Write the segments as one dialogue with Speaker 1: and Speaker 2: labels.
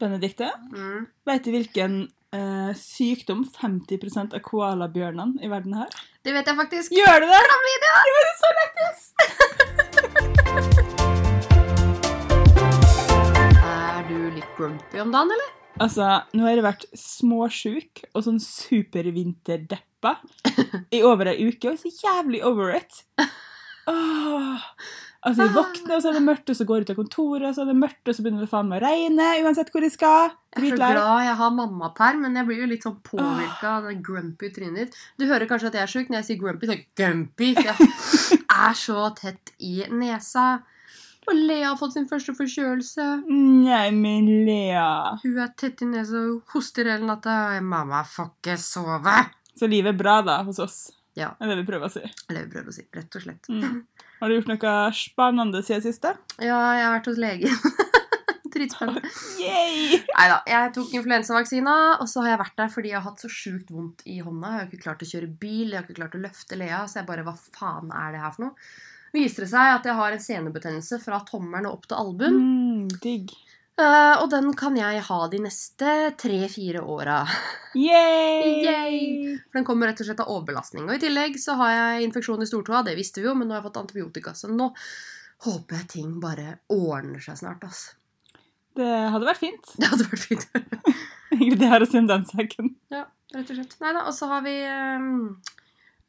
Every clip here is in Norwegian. Speaker 1: Benedikte,
Speaker 2: Mm.
Speaker 1: veit du hvilken eh, sykdom 50 av koalabjørnene i verden har?
Speaker 2: Det vet jeg faktisk.
Speaker 1: Gjør du det?
Speaker 2: Klamydia!
Speaker 1: Det var så lettest!
Speaker 2: Er du litt grumpy om dagen, eller?
Speaker 1: Altså, nå har jeg vært småsjuk og sånn supervinterdeppa i over ei uke, og jeg er så jævlig over it. Åh. Altså, jeg våkner, og så er det mørkt, og så går jeg ut av kontoret, og så er det mørkt, og så begynner det faen meg å regne, uansett hvor jeg skal.
Speaker 2: Jeg er så
Speaker 1: Dritlei.
Speaker 2: glad jeg har mammaperm, men jeg blir jo litt sånn påvirka av det grumpy trynet ditt. Du hører kanskje at jeg er sjuk når jeg sier grumpy. Sånn grumpy. for Jeg er så tett i nesa. Og Lea har fått sin første forkjølelse.
Speaker 1: Nei, men Lea.
Speaker 2: Hun er tett i nesa og hoster hele natta. Mamma får ikke sove!
Speaker 1: Så livet er bra, da, hos oss.
Speaker 2: Ja.
Speaker 1: Det er det vi prøver å si.
Speaker 2: Det er det vi prøver å si. Rett og slett.
Speaker 1: Mm. Har du gjort noe spennende siden siste?
Speaker 2: Ja, jeg har vært hos legen. Dritspennende.
Speaker 1: Yay!
Speaker 2: Nei da. Jeg tok influensavaksina, og så har jeg vært der fordi jeg har hatt så sjukt vondt i hånda. Jeg har ikke klart å kjøre bil, jeg har ikke klart å løfte Lea, så jeg bare Hva faen er det her for noe? Viser det seg at jeg har en senebetennelse fra tommelen og opp til albuen.
Speaker 1: Mm, digg.
Speaker 2: Eh, og den kan jeg ha de neste tre-fire åra.
Speaker 1: Yay!
Speaker 2: Yay! For Den kommer rett og slett av overbelastning. Og I tillegg så har jeg infeksjon i stortåa, det visste vi jo, men nå har jeg fått antibiotika. Så nå håper jeg ting bare ordner seg snart, ass.
Speaker 1: Det hadde vært fint.
Speaker 2: Det hadde vært fint.
Speaker 1: Egentlig det her å si om den saken.
Speaker 2: rett og slett. Nei da, og så har vi ehm,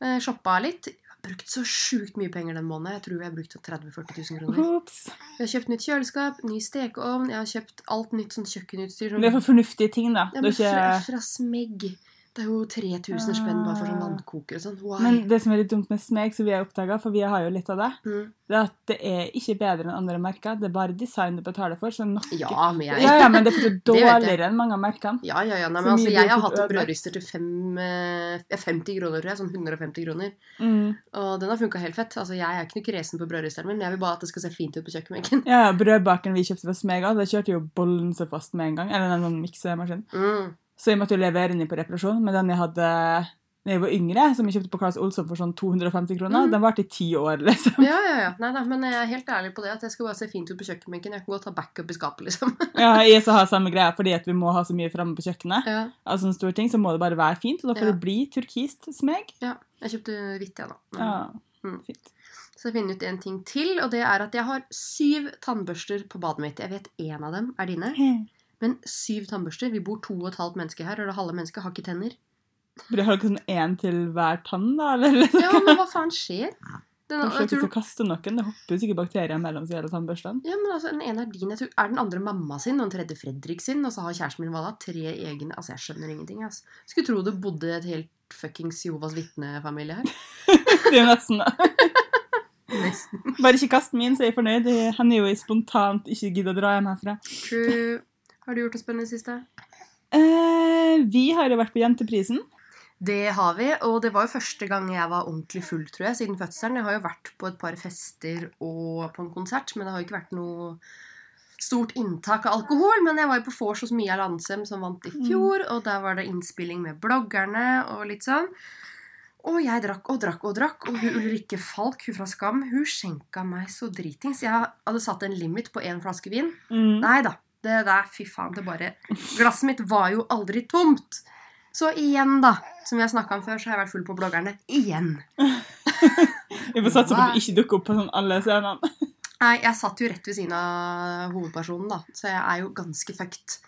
Speaker 2: eh, shoppa litt. Jeg har brukt så sjukt mye penger den måneden. Jeg tror jeg har brukt sånn 30 000-40 000 kroner.
Speaker 1: Ops.
Speaker 2: Jeg har kjøpt nytt kjøleskap, ny stekeovn, jeg har kjøpt alt nytt sånn kjøkkenutstyr.
Speaker 1: Men det er for fornuftige ting, da.
Speaker 2: ja,
Speaker 1: det er
Speaker 2: men
Speaker 1: ikke...
Speaker 2: fra, fra smegg. Det er jo 3000 spenn bare for sånn vannkoker og sånn. Why?
Speaker 1: Ah. Men det som er litt dumt med Smeg, som vi har oppdaga, for vi har jo litt av det,
Speaker 2: Mm.
Speaker 1: det er at det er ikke bedre enn andre merker. Det er bare design du betaler for. Så nok...
Speaker 2: Ja, men jeg
Speaker 1: ja, ja, men det er fortsatt
Speaker 2: Det vet jeg.
Speaker 1: dårligere enn mange av merkene.
Speaker 2: Ja, ja, ja. Nei,
Speaker 1: Så
Speaker 2: men altså,
Speaker 1: mye
Speaker 2: jeg
Speaker 1: blir
Speaker 2: har
Speaker 1: fort
Speaker 2: hatt en
Speaker 1: ødelagt.
Speaker 2: brødrister til fem, eh, ja, 50 kroner, tror jeg. Sånn 150 kroner.
Speaker 1: Mm.
Speaker 2: Og den har funka helt fett. Altså, Jeg er ikke noe kresen på brødristeren min, men jeg vil bare at det skal se fint ut på kjøkkenbenken.
Speaker 1: Ja, ja, Brødbakeren vi kjøpte fra Smeg, også, der kjørte jo bollen så fast med en gang. Eller den sånn miksemaskinen.
Speaker 2: Mm.
Speaker 1: Så jeg måtte jo levere den inn på reparasjon. Men den jeg hadde da jeg var yngre, som jeg kjøpte på Claes Olsson for sånn 250 kroner,
Speaker 2: Mhm.
Speaker 1: den varte i ti år, liksom.
Speaker 2: Ja, ja, ja. Nei da, men jeg er helt ærlig på det at jeg skal bare se fint ut på kjøkkenbenken. Jeg kan godt ha backup i skapet, liksom.
Speaker 1: Ja, jeg så har samme greia fordi at vi må ha så mye framme på kjøkkenet.
Speaker 2: Ja.
Speaker 1: av sånne store ting, så må det bare være fint. Og da får
Speaker 2: Ja.
Speaker 1: det bli turkist smeg.
Speaker 2: ja. Jeg kjøpte hvitt, jeg, da. Men-
Speaker 1: Ja,
Speaker 2: Mm.
Speaker 1: fint.
Speaker 2: Så jeg finner ut en ting til, og det er at jeg har syv tannbørster på badet mitt. Jeg vet én av dem er dine, men syv tannbørster. Vi bor to og et halvt menneske her, og det halve mennesket har ikke tenner.
Speaker 1: Burde jeg ha sånn én til hver tann, da? Eller?
Speaker 2: Ja, men hva faen skjer? Den,
Speaker 1: Kanskje
Speaker 2: jeg
Speaker 1: ikke
Speaker 2: tror
Speaker 1: skal kaste noen. Det hopper jo sikkert bakterier mellom seg hele tannbørstene.
Speaker 2: Ja, men altså, den ene er din. Jeg tror, er den andre mamma sin, og den tredje Fredrik sin, og så har kjæresten min hva da? Tre egne Altså, jeg skjønner ingenting, altså. Skulle tro det bodde et helt fuckings Jehovas vitnefamilie her.
Speaker 1: Det er jo nesten da.
Speaker 2: Nesten.
Speaker 1: Bare ikke kast min, så er jeg fornøyd. Han er jo i spontant ikke gidder å dra hjem herfra.
Speaker 2: True. Har du gjort noe spennende siste?
Speaker 1: Eh, vi har jo vært på Jenteprisen.
Speaker 2: Det har vi, og det var jo første gang jeg var ordentlig full, tror jeg, siden fødselen. Jeg har jo vært på et par fester og på en konsert, men det har jo ikke vært noe stort inntak av alkohol. Men jeg var jo på vors hos Mia Landsem, som vant i fjor, og der var det innspilling med bloggerne og litt sånn. Og jeg drakk og drakk og drakk, og hun Ulrikke Falk, hun fra Skam, hun skjenka meg så dritings. Jeg hadde satt en limit på én flaske vin.
Speaker 1: Mm.
Speaker 2: Nei da. Det der, fy faen, det bare Glasset mitt var jo aldri tomt. Så igjen, da. Som vi har snakka om før, så har jeg vært full på bloggerne. Igjen.
Speaker 1: Vi får satse på at du ikke dukker opp på sånn alle scenene.
Speaker 2: Nei, jeg satt jo rett ved siden av hovedpersonen, da. Så jeg er jo ganske fucked.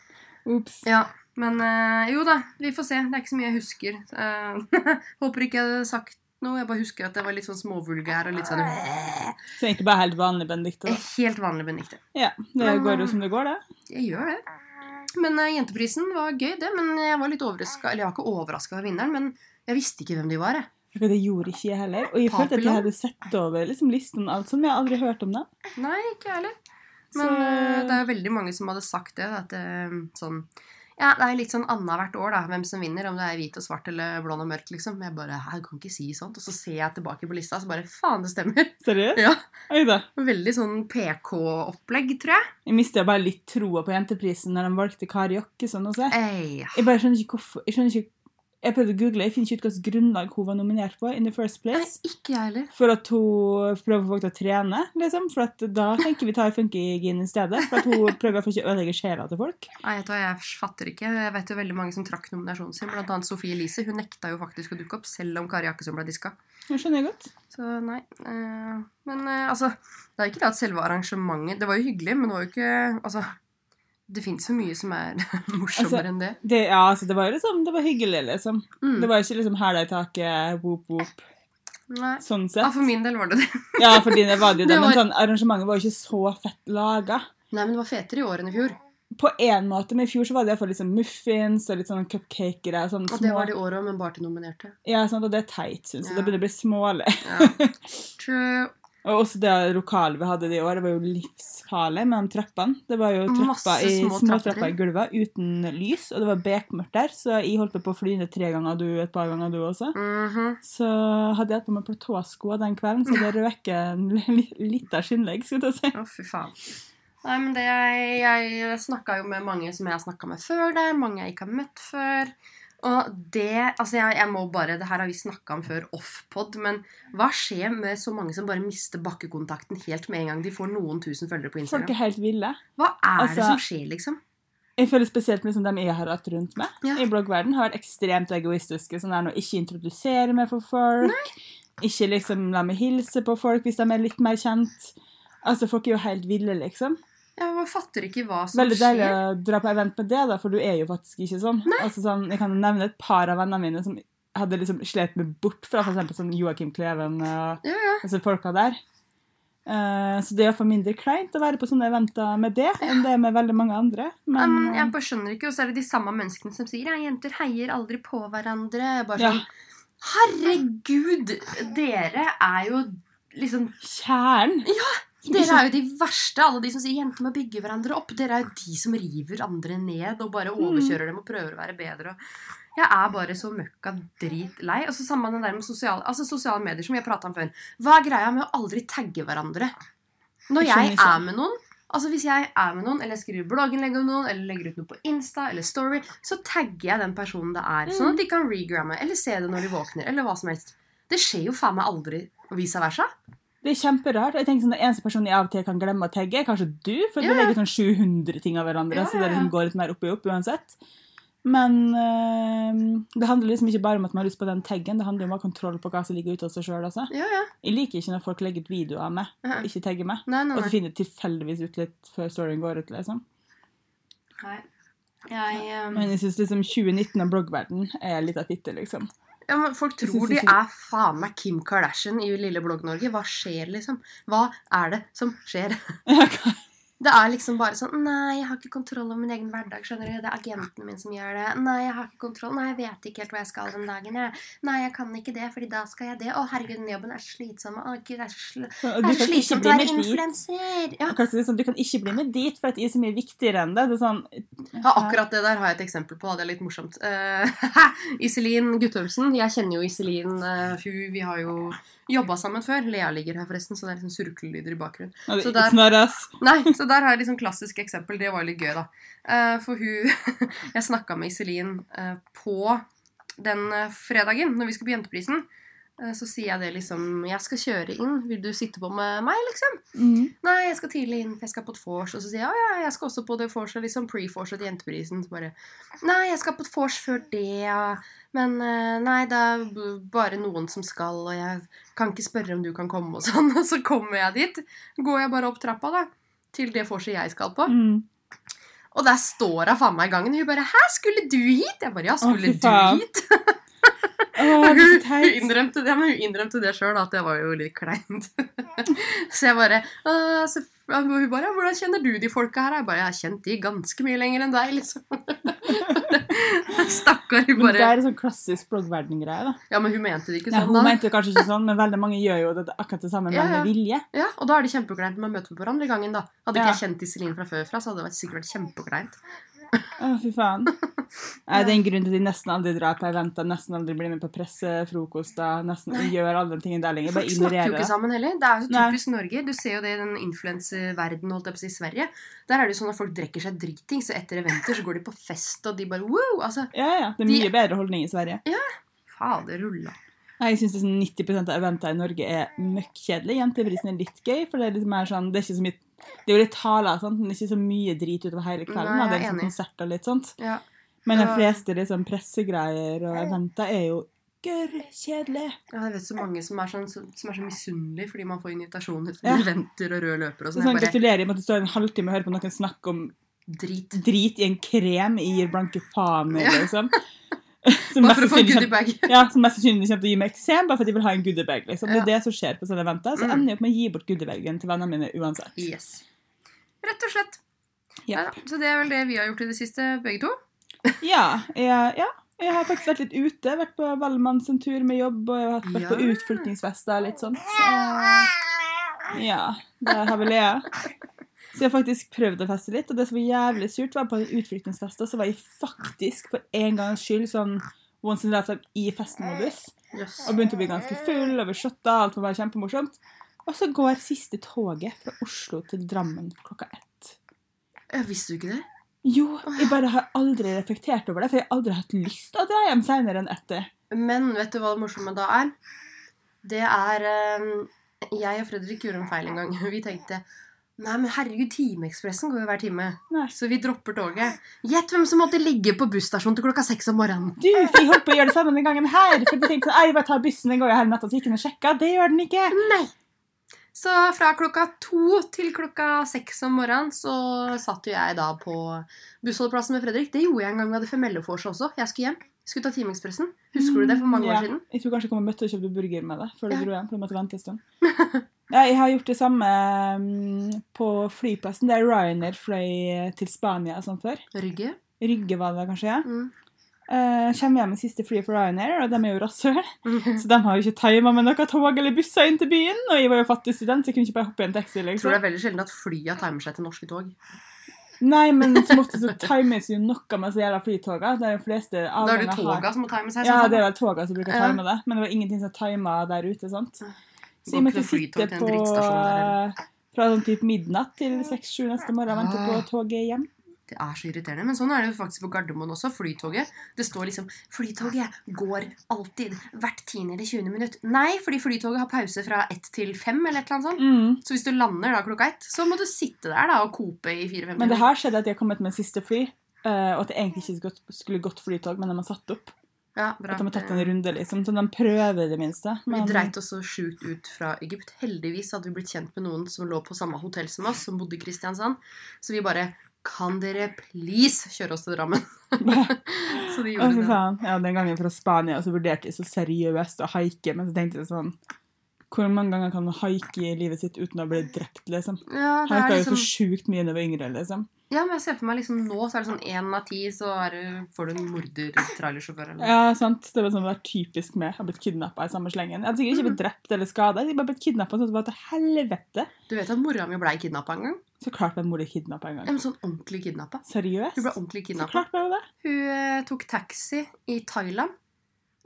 Speaker 1: Ops.
Speaker 2: Ja. Men eh, jo da, vi får se. Det er ikke så mye jeg husker. Eh, håper ikke jeg hadde sagt noe. Jeg bare husker at jeg var litt sånn småvulgær og litt sånn
Speaker 1: Så egentlig bare helt vanlig Benedicte. da.
Speaker 2: Helt vanlig Benedicte.
Speaker 1: Ja, det
Speaker 2: Men,
Speaker 1: går jo som det går, det.
Speaker 2: Jeg gjør det. Men eh, Jenteprisen var gøy, det. Men jeg var litt overraska. Eller jeg var ikke overraska over vinneren, men jeg visste ikke hvem de var, jeg.
Speaker 1: For Det gjorde ikke jeg heller. Og jeg følte at jeg hadde sett over liksom, listen og alt sånt, men jeg har aldri hørt om det.
Speaker 2: Nei, ikke jeg heller.
Speaker 1: Så-
Speaker 2: Men eh, det er jo veldig mange som hadde sagt det. At eh, sånn Ja, det er litt sånn annethvert år, da, hvem som vinner. Om det er hvit og svart eller blond og mørk, liksom. Jeg bare Hæ, du kan ikke si sånt. Og så ser jeg tilbake på lista, så bare Faen, det stemmer.
Speaker 1: Seriøst?
Speaker 2: Ja.
Speaker 1: Oi da.
Speaker 2: Veldig sånn PK-opplegg, tror jeg.
Speaker 1: Jeg mista bare litt troa på Jenteprisen når de valgte Kari Jakkesson sånn også.
Speaker 2: Ei,
Speaker 1: Jeg bare skjønner ikke hvorfor jeg skjønner ikke, Jeg prøvde å google, jeg finner ikke ut hvilket grunnlag hun var nominert på. in the first
Speaker 2: Nei,
Speaker 1: place.
Speaker 2: ikke jeg heller.
Speaker 1: For at hun prøver faktisk å trene, liksom. For at da tenker vi tar funkygin i stedet. For at hun prøver i hvert fall ikke å ødelegge sjela til folk.
Speaker 2: Nei, vet du hva, Jeg fatter ikke. Jeg vet jo veldig mange som trakk nominasjonen sin. Blant annet Sofie Elise. Hun nekta jo faktisk å dukke opp, selv om Kari Jakkesson ble diska.
Speaker 1: Det skjønner jeg godt.
Speaker 2: Så nei. eh, Men eh, altså, det er ikke det at selve arrangementet Det var jo hyggelig, men det var jo ikke Altså, det fins jo mye som er morsommere enn det.
Speaker 1: Det, ja, altså, det var jo liksom, det var hyggelig, liksom.
Speaker 2: Mm.
Speaker 1: Det var ikke liksom hæla i taket, whoop whoop,
Speaker 2: nei.
Speaker 1: sånn
Speaker 2: Ja,
Speaker 1: sett.
Speaker 2: for min del var det det.
Speaker 1: Ja, for dine var det jo det,
Speaker 2: Det
Speaker 1: men
Speaker 2: var-
Speaker 1: sånn, arrangementet var jo ikke så fett laga.
Speaker 2: Nei, men det var fetere i år enn i fjor.
Speaker 1: På en måte, men i fjor så var det iallfall liksom muffins og litt sånn cupcaker og sånn
Speaker 2: Og det
Speaker 1: små.
Speaker 2: var det i år òg, men bare til nominerte.
Speaker 1: Ja, sånn, og det er teit, syns jeg.
Speaker 2: Ja.
Speaker 1: Det begynner å bli smålig.
Speaker 2: Ja. True.
Speaker 1: Og også det lokalet vi hadde det i år, det var jo livsfarlig med de trappene. Det var jo
Speaker 2: Masse
Speaker 1: trapper i,
Speaker 2: små
Speaker 1: små
Speaker 2: trapper.
Speaker 1: trapper i gulvet uten lys, og det var bekmørkt der, så jeg holdt på å fly ned tre ganger, du et par ganger, du også.
Speaker 2: Mhm.
Speaker 1: Så hadde jeg hatt på meg platåsko den kvelden, så det røker en li- lita skinnlegg, skal jeg ta og si.
Speaker 2: Å, fy faen. Nei, men det, Jeg snakka jo med mange som jeg har snakka med før der, mange jeg ikke har møtt før. Og det Altså, jeg, jeg må bare Det her har vi snakka om før offpod, men hva skjer med så mange som bare mister bakkekontakten helt med en gang de får noen tusen følgere
Speaker 1: Folk
Speaker 2: på Instagram?
Speaker 1: er helt ville.
Speaker 2: Hva er
Speaker 1: altså-
Speaker 2: det som skjer, liksom?
Speaker 1: Jeg føler spesielt med sånn dem jeg har hatt rundt meg
Speaker 2: Ja.
Speaker 1: i bloggverden, har vært ekstremt egoistiske. Sånn der nå ikke introdusere meg for folk. Ikke liksom la meg hilse på folk hvis de er litt mer kjent. Altså, folk er jo helt ville, liksom.
Speaker 2: Jeg fatter ikke hva som
Speaker 1: Veldig deilig
Speaker 2: skjer.
Speaker 1: å dra på event med det, da, for du er jo faktisk ikke sånn. Altså, sånn jeg kan nevne et par av vennene mine som hadde liksom slet meg bort fra f.eks. sånn Joakim Kleven og
Speaker 2: Ja, ja.
Speaker 1: altså, folka der. Eh, så det er for mindre kleint å være på sånne eventer med det enn det er med veldig mange andre.
Speaker 2: Nei,
Speaker 1: Men, eh,
Speaker 2: men jeg bare skjønner ikke, og så er det de samme menneskene som sier ja, jenter heier aldri på hverandre. Jeg Bare
Speaker 1: Ja.
Speaker 2: sånn, Herregud! Dere er jo liksom
Speaker 1: Kjæren? Ja,
Speaker 2: Dere er jo de verste, alle de som sier 'jenter må bygge hverandre opp'. Dere er jo de som river andre ned og bare overkjører dem og prøver å være bedre. Og jeg er bare så møkka dritlei. Og så samme den der med sosiale, altså sosiale medier, som vi har prata om før. Hva er greia med å aldri tagge hverandre? Når
Speaker 1: Jeg skjønner
Speaker 2: jeg
Speaker 1: ikke.
Speaker 2: er med noen Altså Hvis jeg er med noen, eller skriver blogginnlegg om noen, eller legger ut noe på Insta eller Story, så tagger jeg den personen det er, sånn at de kan regramme eller se det når de våkner, eller hva som helst. Det skjer jo faen meg aldri, og vice versa.
Speaker 1: Det er kjemperart. og Jeg tenker sånn, Den eneste personen jeg av og til kan glemme å tagge, er kanskje du. For
Speaker 2: Ja,
Speaker 1: vi legger sånn 700 ting av hverandre,
Speaker 2: Ja,
Speaker 1: så det
Speaker 2: ja, ja.
Speaker 1: liksom går litt mer opp i opp uansett. Men eh, det handler liksom ikke bare om at man har lyst på den taggen, det handler om å ha kontroll på hva som ligger ute av seg sjøl. Altså.
Speaker 2: Ja, ja.
Speaker 1: Jeg liker ikke når folk legger ut videoer av meg
Speaker 2: Mhm.
Speaker 1: og ikke tagger meg.
Speaker 2: Nei, nei,
Speaker 1: Og
Speaker 2: nei.
Speaker 1: så finner jeg tilfeldigvis ut litt før storyen går ut. liksom.
Speaker 2: Nei. Jeg, ehm,
Speaker 1: Men jeg syns liksom 2019 og bloggverden er litt av fitte, liksom.
Speaker 2: ja, men folk
Speaker 1: Jeg
Speaker 2: tror
Speaker 1: synes
Speaker 2: de
Speaker 1: ikke-
Speaker 2: er faen meg Kim Kardashian i lille Blogg-Norge. Hva skjer, liksom? Hva er det som skjer? Det er liksom bare sånn Nei, jeg har ikke kontroll over min egen hverdag. skjønner du? Det er agenten min som gjør det. Nei, jeg har ikke kontroll. Nei, jeg vet ikke helt hva jeg skal den dagen. Jeg. Nei, jeg kan ikke det, fordi da skal jeg det. Å, herregud, den jobben er slitsom. Å, gud, det er så sl
Speaker 1: Og
Speaker 2: det
Speaker 1: du
Speaker 2: er så
Speaker 1: kan ikke
Speaker 2: slitsomt
Speaker 1: bli
Speaker 2: å
Speaker 1: med
Speaker 2: være
Speaker 1: dit.
Speaker 2: influenser. Ja.
Speaker 1: Og kanskje liksom, Du kan ikke bli med dit, for at jeg er så mye viktigere enn det. det er sånn,
Speaker 2: Ja, akkurat det der har jeg et eksempel på. Det er litt morsomt. Eh, Iselin Guttormsen. Jeg kjenner jo Iselin. eh, hun, vi har jo jobba sammen før. Lea ligger her, forresten, så det er liksom surklelyder i bakgrunnen.
Speaker 1: Nå, det
Speaker 2: Så
Speaker 1: er
Speaker 2: der-
Speaker 1: ikke snarere, ass.
Speaker 2: Nei, Så der har jeg liksom klassisk eksempel. Det var litt gøy, da. Eh, for hun Jeg snakka med Iselin eh, på den eh, fredagen når vi skulle på Jenteprisen. Eh, så sier jeg det liksom Jeg skal kjøre inn. Vil du sitte på med meg, liksom?
Speaker 1: Mm.
Speaker 2: Nei, jeg skal tidlig inn, for jeg skal på et vors. Og så sier jeg ja, ja, jeg skal også på det vorset, liksom pre-vorset til Jenteprisen. Så bare Nei, jeg skal på et vors før det, ja. Men eh, nei, det er b- bare noen som skal, og jeg kan ikke spørre om du kan komme og sånn. Og så kommer jeg dit. Går jeg bare opp trappa, da. Til det vorset jeg skal på.
Speaker 1: Mm.
Speaker 2: Og der står hun faen meg i gangen. Hun bare 'Hæ, skulle du hit?' Jeg bare 'Ja,
Speaker 1: fy
Speaker 2: skulle
Speaker 1: faen.
Speaker 2: du hit?'
Speaker 1: Åh,
Speaker 2: Hun,
Speaker 1: det er så
Speaker 2: hun,
Speaker 1: teit.
Speaker 2: innrømte, det, men hun innrømte det sjøl, at det var jo litt kleint. så jeg bare «Åh, så, og Hun bare 'Hvordan kjenner du de folka her?' Jeg bare 'Jeg har kjent de ganske mye lenger enn deg', liksom. Stakkar. Hun
Speaker 1: Men det
Speaker 2: bare
Speaker 1: er en sånn klassisk bloggverden-greie. da.
Speaker 2: Ja, men hun mente det ikke
Speaker 1: Nei,
Speaker 2: sånn,
Speaker 1: hun
Speaker 2: da.
Speaker 1: mente det kanskje ikke sånn, men veldig mange gjør jo det akkurat det samme, men
Speaker 2: Ja, ja.
Speaker 1: med vilje.
Speaker 2: Ja, Og da er det kjempekleint med å møte hverandre i gangen, da. Hadde
Speaker 1: Ja.
Speaker 2: ikke jeg kjent Iselin fra før fra, så hadde det vært sikkert vært kjempekleint.
Speaker 1: Å, fy faen. Nei, Det er en grunn til at de nesten aldri drar på eventer, nesten aldri blir med på pressefrokoster, nesten
Speaker 2: Nei.
Speaker 1: gjør alle de tingene der lenger. Bare
Speaker 2: Folk snakker jo
Speaker 1: ignorerer
Speaker 2: ikke sånn.
Speaker 1: det.
Speaker 2: sammen heller. Det er jo så
Speaker 1: Nei.
Speaker 2: typisk Norge. Du ser jo det i den influenserverdenen, holdt jeg på å si, Sverige. Der er det jo sånn at folk drikker seg driting, så etter eventer så går de på fest, og de bare wow! Altså,
Speaker 1: Ja, ja. Det er
Speaker 2: De-
Speaker 1: mye bedre holdning i Sverige.
Speaker 2: fader rulla.
Speaker 1: Nei, Jeg syns 90 av eventer i Norge er møkkjedelig. Jenteprisen er litt gøy, for det er litt mer sånn Det er ikke så mye det er jo litt taler, sant? men det er ikke så mye drit utover hele kvelden. da.
Speaker 2: Nei,
Speaker 1: det
Speaker 2: jeg
Speaker 1: er
Speaker 2: er
Speaker 1: liksom
Speaker 2: enig.
Speaker 1: konserter og litt sånt.
Speaker 2: Ja.
Speaker 1: Men de
Speaker 2: Ja.
Speaker 1: fleste liksom, pressegreier og eventer er jo gørrkjedelig.
Speaker 2: Jeg vet så mange som er, sånn, som som er så misunnelige fordi man får invitasjoner til
Speaker 1: Ja.
Speaker 2: eventer og røde løpere og
Speaker 1: Så
Speaker 2: sånn.
Speaker 1: sånn,
Speaker 2: Jeg bare
Speaker 1: gratulerer med at du står en halvtime og hører på noen snakke om
Speaker 2: drit.
Speaker 1: drit i en krem i gir blanke faen i,
Speaker 2: Ja.
Speaker 1: liksom. Som
Speaker 2: Bare
Speaker 1: mest
Speaker 2: for å få en
Speaker 1: sannsynlig kommer-
Speaker 2: goodiebag.
Speaker 1: ja, som mest sannsynlig kommer til å gi meg eksem bare fordi de vil ha en goodiebag. Liksom. Det
Speaker 2: Ja.
Speaker 1: er det som skjer på sånne eventer. Så
Speaker 2: Mm.
Speaker 1: ender jeg opp med å gi bort goodiebagen til vennene mine uansett.
Speaker 2: Yes. Rett og slett.
Speaker 1: Ja.
Speaker 2: Neida, så det er vel det vi har gjort i det siste, begge to.
Speaker 1: Ja, jeg, ja. Jeg har faktisk vært litt ute. Jeg har vært på Valmanns en tur med jobb, og jeg har vært på
Speaker 2: Ja.
Speaker 1: utflyttingsfester og litt sånt. Så, eh, ja, der har vi Lea. Så jeg har faktisk prøvd å feste litt, og det som var jævlig surt, var på en utflyttingsfest, og så var jeg faktisk for en gangs skyld sånn once in a lifetime i festmodus,
Speaker 2: Yes.
Speaker 1: og begynte å bli ganske full, og vi shotta, alt var bare kjempemorsomt. Og så går siste toget fra Oslo til Drammen klokka ett.
Speaker 2: Jeg visste jo ikke det.
Speaker 1: Jo, jeg bare har aldri reflektert over det, for jeg har aldri hatt lyst til å dra hjem seinere enn etter.
Speaker 2: Men vet du hva det morsomme da er? Det er eh, Jeg og Fredrik gjorde en feil en gang. Vi tenkte Nei, men herregud, Timeekspressen går jo hver time.
Speaker 1: Nei.
Speaker 2: Så vi dropper toget. Gjett hvem som måtte ligge på busstasjonen til klokka seks om morgenen.
Speaker 1: Du, for jeg holdt på å gjøre det samme den gangen her. For jeg tenkte sånn, «Ei, bare ta bussen en gang her i natta, så gikk den og sjekka. Det gjør den ikke.
Speaker 2: Nei! Så fra klokka to til klokka seks om morgenen så satt jo jeg da på bussholdeplassen med Fredrik. Det gjorde jeg en gang vi hadde femellefors også. Jeg skulle hjem. Skulle ta Timeekspressen. Husker du det for mange
Speaker 1: Mm, Ja.
Speaker 2: år siden?
Speaker 1: Jeg tror kanskje jeg kom og møtte og kjøpte burger med deg før du
Speaker 2: Ja.
Speaker 1: dro hjem. for du måtte vente en stund. Ja, jeg har gjort det samme mm, på flyplassen. Det er Ryanair fløy til Spania og sånn før.
Speaker 2: Rygge.
Speaker 1: Rygge var det kanskje, ja.
Speaker 2: Mm.
Speaker 1: Eh, kommer hjem med siste flyet for Ryanair, og de er jo rasshøl. Så de har jo ikke tima med noe tog eller busser inn til byen. Og jeg var jo fattig student, så jeg kunne ikke bare hoppe i en taxi.
Speaker 2: Jeg tror
Speaker 1: liksom.
Speaker 2: det er veldig sjelden at flya timer seg til norske tog.
Speaker 1: Nei, men som ofte så times jo noe med så jævla flytoga. Det er de fleste
Speaker 2: Da er det
Speaker 1: avganger har-
Speaker 2: toga som må time seg.
Speaker 1: Ja,
Speaker 2: sånn.
Speaker 1: det er vel toga som bruker
Speaker 2: Ja.
Speaker 1: time det. Men det var ingenting som tima der ute, sant. Så
Speaker 2: Går
Speaker 1: jeg måtte
Speaker 2: ikke noe flytog
Speaker 1: sitte
Speaker 2: til en
Speaker 1: på
Speaker 2: drittstasjon der, eller?
Speaker 1: fra sånn typ midnatt til seks-sju neste morgen og vente på
Speaker 2: Ah.
Speaker 1: toget hjem.
Speaker 2: Det er så irriterende. Men sånn er det jo faktisk på Gardermoen også. Flytoget. Det står liksom 'Flytoget går alltid. Hvert 10. eller 20. minutt'. Nei, fordi flytoget har pause fra 1 til 5 eller et eller annet sånt.
Speaker 1: Mm.
Speaker 2: Så hvis du lander da klokka 1, så må du sitte der da og kope i 4-5
Speaker 1: Men det
Speaker 2: minutter.
Speaker 1: har skjedd at de har kommet med siste fly, eh, og at det egentlig ikke skulle gått- skulle gått flytog, men de har satt opp.
Speaker 2: Ja, bra.
Speaker 1: At de har tatt en runde, liksom. Så de prøver i det minste.
Speaker 2: Vi
Speaker 1: Men
Speaker 2: dreit oss så sjukt ut fra Egypt. Heldigvis hadde vi blitt kjent med noen som lå på samme hotell som oss, som bodde i Kristiansand. Så vi bare Kan dere please kjøre oss til Drammen? så
Speaker 1: Å,
Speaker 2: de gjorde
Speaker 1: fy
Speaker 2: det.
Speaker 1: faen. Ja, den gangen fra Spania, så vurderte jeg så seriøst å haike, men så tenkte jeg sånn Hvor mange ganger kan man haike i livet sitt uten å bli drept, liksom?
Speaker 2: Ja, det
Speaker 1: Haika
Speaker 2: er
Speaker 1: jo for
Speaker 2: liksom
Speaker 1: sjukt mye da jeg var yngre, liksom.
Speaker 2: Ja, men jeg ser for meg liksom nå så er det sånn én av ti, så er det, får du en morder-trailersjåfør. eller noe.
Speaker 1: Ja, sant. Det var sånn det var typisk med å bli kidnappa i samme slengen. Jeg hadde
Speaker 2: Mm.
Speaker 1: sikkert ikke blitt drept eller skada, jeg bare blitt kidnappa sånn at det var til helvete.
Speaker 2: Du vet at mora mi blei kidnappa en gang?
Speaker 1: Så klart ble mor di kidnappa en
Speaker 2: Ja,
Speaker 1: gang.
Speaker 2: men sånn ordentlig kidnappa.
Speaker 1: Seriøst?
Speaker 2: Hun ble
Speaker 1: Så
Speaker 2: ordentlig kidnappa.
Speaker 1: klart ble hun det.
Speaker 2: Hun eh, tok taxi i Thailand.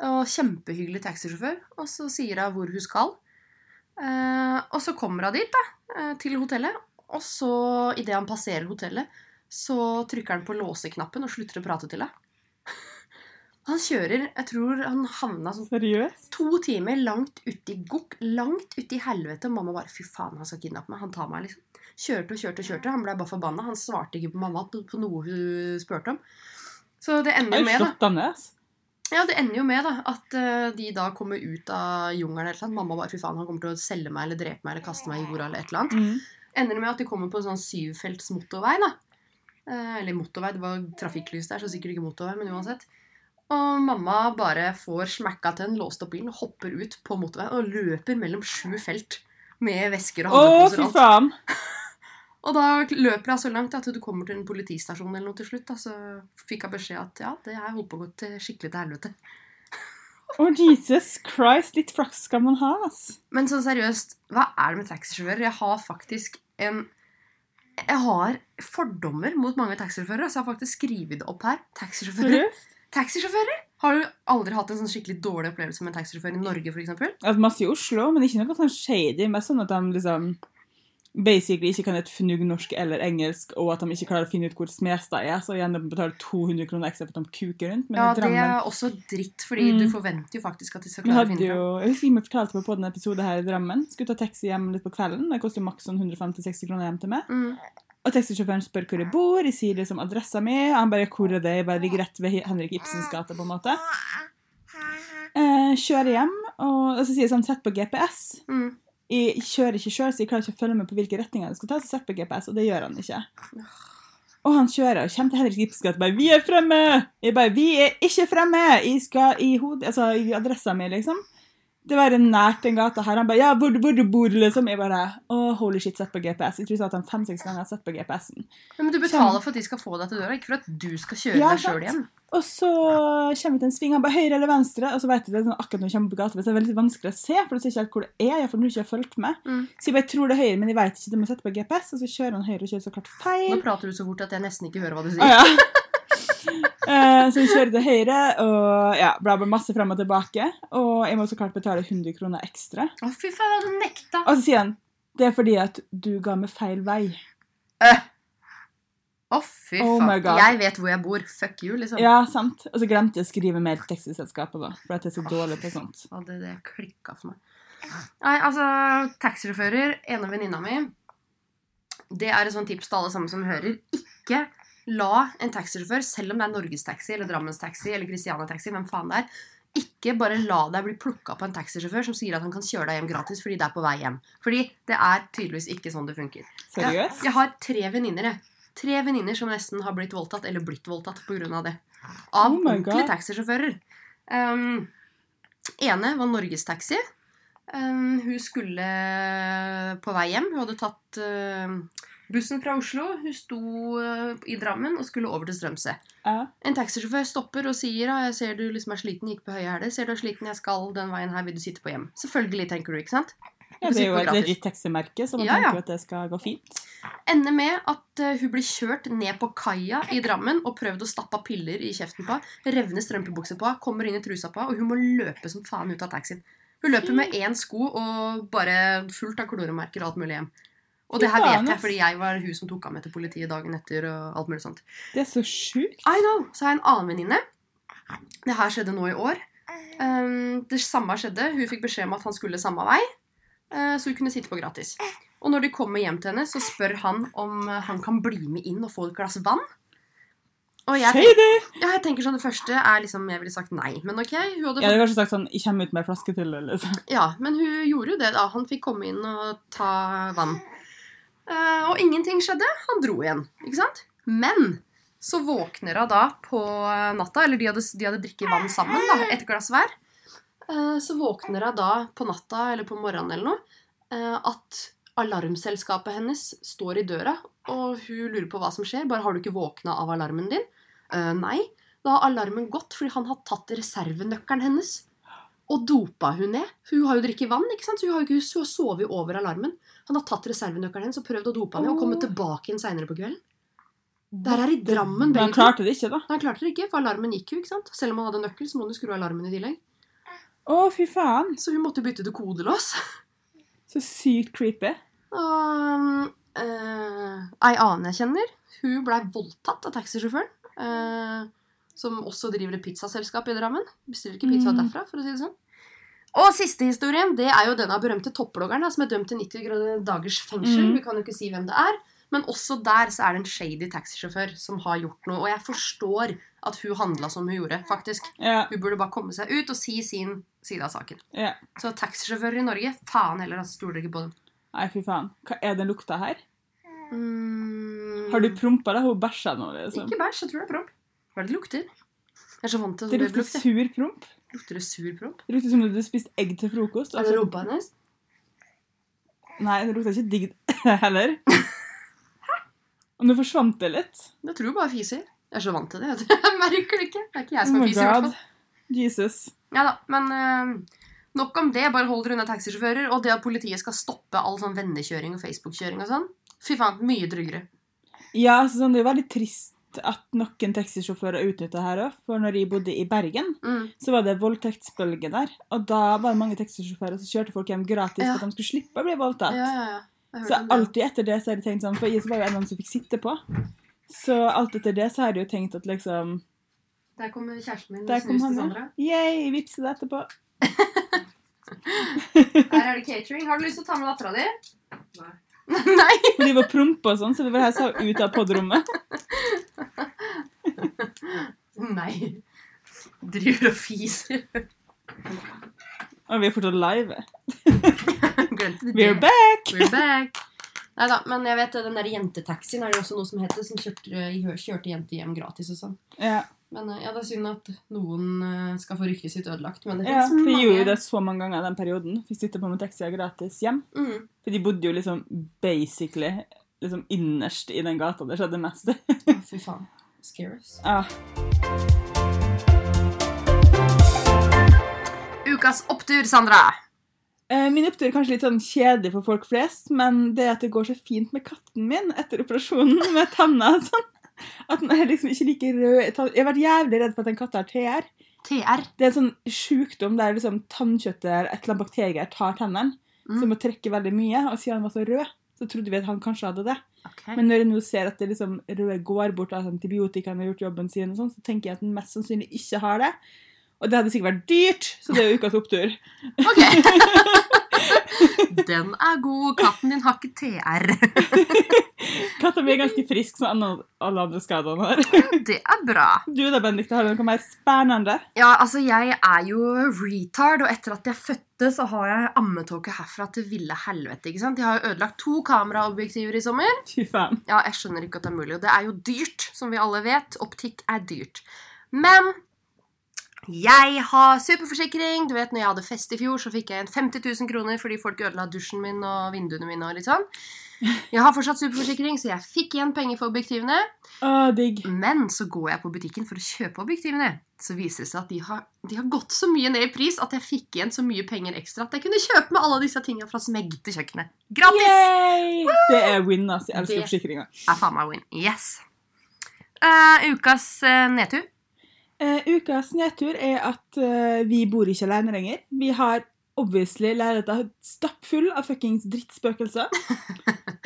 Speaker 2: Og kjempehyggelig taxisjåfør. Og så sier hun hvor hun skal. Eh, og så kommer hun dit, da. eh, Til hotellet. Og så, idet han passerer hotellet, så trykker han på låseknappen og slutter å prate til henne. Han kjører Jeg tror han havna sånn
Speaker 1: Seriøst?
Speaker 2: To timer langt uti gokk, langt uti helvete. og Mamma bare 'fy faen, han skal kidnappe meg'. Han tar meg, liksom. Kjørte og kjørte og kjørte. Han blei bare forbanna. Han svarte ikke på mamma på noe hun spurte om. Så det ender
Speaker 1: Jeg har
Speaker 2: jo med,
Speaker 1: jo
Speaker 2: da.
Speaker 1: slått han ned. ass.
Speaker 2: Ja, det ender jo med da, at eh, de da kommer ut av jungelen eller et eller annet. Mamma bare 'fy faen, han kommer til å selge meg eller drepe meg eller kaste meg i jorda' eller et eller annet.
Speaker 1: Mm.
Speaker 2: Ender det med at de kommer på en sånn syvfelts motorvei, da. Eh, eller motorvei, det var trafikklys der, så sikkert ikke motorvei, men uansett. Og mamma bare får smekka til en, låst opp bilen, hopper ut på motorveien og løper mellom sju felt med vesker og
Speaker 1: Å,
Speaker 2: handleposer
Speaker 1: fy
Speaker 2: og alt.
Speaker 1: faen!
Speaker 2: Og da løper hun så langt at du kommer til en politistasjon eller noe til slutt. Da, så fikk hun beskjed at ja, det her holdt på å gå til skikkelig til helvete.
Speaker 1: Å, Jesus Christ, litt flaks skal man ha, ass.
Speaker 2: Men sånn seriøst, hva er det med taxisjåfører? Jeg har faktisk en Jeg har fordommer mot mange taxisjåfører, så jeg har faktisk skrevet det opp her. Taxisjåfører.
Speaker 1: Seriøst?
Speaker 2: Taxisjåfører? Har du aldri hatt en sånn skikkelig dårlig opplevelse med en taxisjåfør i Norge, f.eks.?
Speaker 1: Altså, masse i Oslo, men ikke noe sånn shady. Mest sånn at de liksom basically ikke kan et fnugg norsk eller engelsk, og at de ikke klarer å finne ut hvor Smestad er, så igjen de betaler 200 kroner ekstra for at de kuker rundt. Men
Speaker 2: Ja,
Speaker 1: i
Speaker 2: det
Speaker 1: Drammen
Speaker 2: er også dritt, fordi
Speaker 1: Mm.
Speaker 2: du forventer jo faktisk at de skal
Speaker 1: Vi
Speaker 2: klare å
Speaker 1: hadde
Speaker 2: finne
Speaker 1: jo,
Speaker 2: fram.
Speaker 1: jeg husker vi fortalte meg på denne episoden her i Drammen. Skulle ta taxi hjem litt på kvelden. Det koster maks sånn 150-60 kroner hjem til meg.
Speaker 2: Mm.
Speaker 1: Og taxisjåføren spør hvor jeg bor, jeg sier liksom adressa mi. og Han bare 'Hvor er det?' Jeg bare ligger rett ved Henrik Ibsens gate, på en måte. Eh, kjører hjem, og, og så sier jeg sånn sett på GPS.
Speaker 2: Mm.
Speaker 1: Jeg kjører ikke sjøl, så jeg klarer ikke å følge med på hvilke retninger jeg skal ta. Så sett på GPS, og det gjør han ikke. Og han kjører og kommer til Henrik Ibsens gate og bare 'Vi er fremme!' Jeg bare 'Vi er ikke fremme!' Jeg skal i hodet Altså i adressa mi, liksom. Det var nært den gata her. Han bare 'Ja, hvor, hvor du bor?' liksom. Jeg bare 'Å, holy shit, sett på GPS'. Jeg tror jeg sa at han fem-seks ganger har sett på GPS-en.
Speaker 2: Ja, men du betaler for at de skal få deg til døra, ikke for at du skal kjøre
Speaker 1: Sånn. Ja,
Speaker 2: deg sjøl
Speaker 1: sant.
Speaker 2: hjem.
Speaker 1: Og så kommer vi til en sving, han bare høyre eller venstre, og så vet jeg det er sånn akkurat når jeg kommer på gata, så er det veldig vanskelig å se, for du ser ikke helt hvor det er, jeg for nå har jeg ikke fulgt med.
Speaker 2: Mm.
Speaker 1: Så jeg bare tror det er høyre, men jeg vet ikke, de må sette på GPS, og så kjører han høyre og kjører så klart
Speaker 2: Nå
Speaker 1: feil.
Speaker 2: prater du så fort at jeg nesten ikke hører hva du
Speaker 1: Å,
Speaker 2: sier.
Speaker 1: ja. Eh, så vi kjører til høyre, og ja, bla bla masse frem og tilbake, og jeg må så klart betale 100 kroner ekstra.
Speaker 2: Å, fy faen, du nekta!
Speaker 1: Og så sier han, det er fordi at du ga meg feil vei.
Speaker 2: Å, fy
Speaker 1: Oh
Speaker 2: faen.
Speaker 1: my God.
Speaker 2: jeg vet hvor jeg bor. Fuck you, liksom.
Speaker 1: Ja, sant. Og så glemte jeg å skrive mail til taxiselskapet da, for at jeg er så dårlig på sånt.
Speaker 2: Hadde det klikka for meg. Nei, altså, taxisjåfører, en av venninna mi Det er et sånt tips til alle sammen som hører. Ikke la en taxisjåfør, selv om det er Norgestaxi eller Drammenstaxi eller Christiania-taxi, hvem faen det er, ikke bare la deg bli plukka på en taxisjåfør som sier at han kan kjøre deg hjem gratis fordi det er på vei hjem. Fordi det er tydeligvis ikke sånn det funker.
Speaker 1: Seriøst?
Speaker 2: Jeg, jeg har tre venninner, jeg. Tre venninner som nesten har blitt voldtatt, eller blitt voldtatt pga. det. Av
Speaker 1: Oh my
Speaker 2: ordentlige
Speaker 1: God.
Speaker 2: taxisjåfører. Um, ene var Norgestaxi. Um, hun skulle på vei hjem. Hun hadde tatt um, bussen fra Oslo. Hun sto uh, i Drammen og skulle over til Strømsø.
Speaker 1: Ja.
Speaker 2: En taxisjåfør stopper og sier «Ah, jeg ser du liksom er sliten, gikk på høye hæler. Ser du er sliten, jeg skal den veien her, vil du sitte på hjem? Selvfølgelig, tenker du, ikke sant?
Speaker 1: Ja, det er jo
Speaker 2: Sitter
Speaker 1: et
Speaker 2: gratis.
Speaker 1: legit taximerke, så man
Speaker 2: Ja, ja.
Speaker 1: tenker jo at det skal gå fint.
Speaker 2: Ender med at eh, hun blir kjørt ned på kaia i Drammen og prøvd å stappe piller i kjeften på. Revner strømpebukser på, kommer inn i trusa på, og hun må løpe som faen ut av taxien. Hun løper med én sko og bare fullt av kloremerker og alt mulig hjem. Og det her
Speaker 1: Fy faen,
Speaker 2: vet jeg
Speaker 1: ass.
Speaker 2: fordi jeg var hun som tok av meg til politiet dagen etter. og alt mulig sånt.
Speaker 1: Det er så sjukt.
Speaker 2: I know! Så har jeg en annen venninne. Det her skjedde nå i år. Um, det samme skjedde. Hun fikk beskjed om at han skulle samme vei, eh, så hun kunne sitte på gratis. Og når de kommer hjem til henne, så spør han om eh, han kan bli med inn og få et glass vann. Og jeg, tenker,
Speaker 1: Shady!
Speaker 2: ja, jeg tenker sånn, Det første er liksom Jeg ville sagt nei, men ok. Hun hadde
Speaker 1: Jeg hadde kanskje sagt sånn Jeg kommer ut med ei flaske til, eller sånn.
Speaker 2: ja, men hun gjorde jo det da. Han fikk komme inn og ta vann. Eh, og ingenting skjedde. Han dro igjen, ikke sant? Men så våkner hun da på natta, eller de hadde, de hadde drikket vann sammen, da, et glass hver. Eh, så våkner hun da på natta eller på morgenen eller noe eh, at alarmselskapet hennes står i døra, og hun lurer på hva som skjer. Bare 'Har du ikke våkna av alarmen din?' Eh, nei. Da har alarmen gått fordi han har tatt reservenøkkelen hennes. Og dopa hun ned. For hun har jo drikket vann, ikke sant? så hun har jo ikke hun har sovet over alarmen. Han har tatt reservenøkkelen hennes og prøvd å dope henne og kommet tilbake igjen seinere på kvelden. Der er i Drammen,
Speaker 1: Men
Speaker 2: begge
Speaker 1: han
Speaker 2: to.
Speaker 1: klarte det ikke, da.
Speaker 2: Nei, han klarte det ikke, for alarmen gikk jo, ikke sant. Selv om han hadde nøkkel, så må han jo skru av alarmen i tillegg.
Speaker 1: Å, fy faen.
Speaker 2: Så hun måtte bytte til kodelås.
Speaker 1: Så sykt creepy.
Speaker 2: Og eh, ei annen jeg kjenner, hun blei voldtatt av taxisjåføren. eh, som også driver et pizzaselskap i Drammen. Bestiller ikke pizza
Speaker 1: Mm.
Speaker 2: derfra, for å si det sånn. Og siste historien det er jo denne berømte topploggeren da, som er dømt til 90 gra- dagers fengsel.
Speaker 1: Mm.
Speaker 2: Vi kan jo ikke si hvem det er. Men også der så er det en shady taxisjåfør som har gjort noe. Og jeg forstår at hun handla som hun gjorde, faktisk.
Speaker 1: Ja.
Speaker 2: Hun burde bare komme seg ut og si sin side av saken.
Speaker 1: ja.
Speaker 2: Så taxisjåfører i Norge, faen heller, altså, stoler ikke på dem.
Speaker 1: Nei, fy faen. Hva er den lukta her?
Speaker 2: Mm.
Speaker 1: Har du prompa det? Hun bæsja nå, liksom.
Speaker 2: Ikke bæsj, jeg tror det er promp. Hva er det det lukter? Jeg er så vant til
Speaker 1: Det
Speaker 2: sånn
Speaker 1: lukter
Speaker 2: lukter.
Speaker 1: sur promp.
Speaker 2: Lukter det sur promp?
Speaker 1: Det lukter som om du har spist egg til frokost. og
Speaker 2: Er det
Speaker 1: så-
Speaker 2: rumpa hennes?
Speaker 1: Nei, det lukta ikke digg heller. Og nå forsvant det litt.
Speaker 2: Jeg tror bare fiser. Jeg er så vant til det. vet du. Jeg merker det ikke. Det er ikke jeg
Speaker 1: Oh
Speaker 2: som
Speaker 1: my
Speaker 2: er fiser, i hvert
Speaker 1: god.
Speaker 2: fall.
Speaker 1: Jesus.
Speaker 2: Ja da, men eh, nok om det. Bare hold dere unna taxisjåfører. Og det at politiet skal stoppe all sånn vennekjøring og Facebook-kjøring og sånn. Fy faen, mye tryggere.
Speaker 1: Ja, så sånn, det er jo veldig trist at noen taxisjåfører utnytta her òg. For når jeg bodde i Bergen,
Speaker 2: Mm.
Speaker 1: så var det voldtektsbølge der. Og da var det mange taxisjåfører som kjørte folk hjem gratis
Speaker 2: Ja.
Speaker 1: for at de skulle slippe å bli
Speaker 2: Ja,
Speaker 1: voldtatt.
Speaker 2: ja, ja. Jeg hørte
Speaker 1: Så
Speaker 2: om det.
Speaker 1: alltid etter det så har jeg tenkt sånn, for jeg så var jo en av dem som fikk sitte på. Så alt etter det så har jeg jo tenkt at liksom
Speaker 2: Der kom kjæresten min
Speaker 1: Der
Speaker 2: og
Speaker 1: kom
Speaker 2: snus til
Speaker 1: han,
Speaker 2: Sandra.
Speaker 1: ja. Yay, vippse det etterpå.
Speaker 2: Her er det catering. Har du lyst til å ta med dattera di? Nei. Nei.
Speaker 1: For de var prompe og sånn, så det var her så ut av podrommet.
Speaker 2: Nei. Driver og fiser.
Speaker 1: Og vi er fortsatt live.
Speaker 2: Glemte det.
Speaker 1: We're back!
Speaker 2: We're back. Nei da, men jeg vet den der jentetaxien er det også noe som heter, som kjørte, kjørte jenter hjem gratis og sånn.
Speaker 1: Ja,
Speaker 2: Men eh, ja, det er synd at noen eh, skal få ryktet sitt ødelagt, men det
Speaker 1: ja
Speaker 2: finnes
Speaker 1: for jeg gjorde jo
Speaker 2: mange.
Speaker 1: det så mange ganger i den perioden. Fikk sitte på med taxier gratis hjem.
Speaker 2: Mm.
Speaker 1: For de bodde jo liksom basically liksom innerst i den gata der skjedde mest.
Speaker 2: Å, fy faen. Scare us.
Speaker 1: Ja.
Speaker 2: Ukas opptur, Sandra.
Speaker 1: Eh, Min opptur er kanskje litt sånn kjedelig for folk flest, men det at det går så fint med katten min etter operasjonen med tenna og sånn, at den er liksom ikke like rød i tann- Jeg har vært jævlig redd for at en katt har TR.
Speaker 2: TR.
Speaker 1: Det er en sånn sjukdom der liksom tannkjøttet eller et eller annet bakterier tar tennene,
Speaker 2: Mm.
Speaker 1: som må trekke veldig mye, og siden han var så rød, så trodde vi at han kanskje hadde det.
Speaker 2: Ok.
Speaker 1: Men når jeg nå ser at det liksom røde går bort av antibiotikaene har gjort jobben sin, og sånn, så tenker jeg at den mest sannsynlig ikke har det. Og det hadde sikkert vært dyrt, så det er jo ukas opptur.
Speaker 2: Ok. Den er god. Katten din har ikke TR.
Speaker 1: Katta mi er ganske frisk, som anna- alle andre skader han har.
Speaker 2: Det er bra.
Speaker 1: Du da, Benedikte, har du noe mer spennende?
Speaker 2: Ja, altså, jeg er jo retard, og etter at jeg fødte, så har jeg ammetåke herfra til ville helvete. ikke sant? Jeg har jo ødelagt to kameraobjektiver i sommer.
Speaker 1: Fy faen.
Speaker 2: Ja, jeg skjønner ikke at det er mulig, og det er jo dyrt, som vi alle vet. Optikk er dyrt. Men jeg har superforsikring. Du vet, når jeg hadde fest i fjor, så fikk jeg en 50 000 kroner fordi folk ødela dusjen min og vinduene mine og litt sånn. Jeg har fortsatt superforsikring, så jeg fikk igjen penger for objektivene.
Speaker 1: Å, digg.
Speaker 2: Men så går jeg på butikken for å kjøpe objektivene. Så viser det seg at de har, de har gått så mye ned i pris at jeg fikk igjen så mye penger ekstra at jeg kunne kjøpe med alle disse tingene fra Smegg til kjøkkenet. Gratis!
Speaker 1: Yay! Det er win, ass. Jeg elsker
Speaker 2: Det-
Speaker 1: forsikringa.
Speaker 2: Er faen meg win. Yes. Eh, ukas eh, nedtur.
Speaker 1: Eh, ukas nedtur er at eh, vi bor ikke alene lenger. Vi har obviously leiligheta stappfull av fuckings drittspøkelser.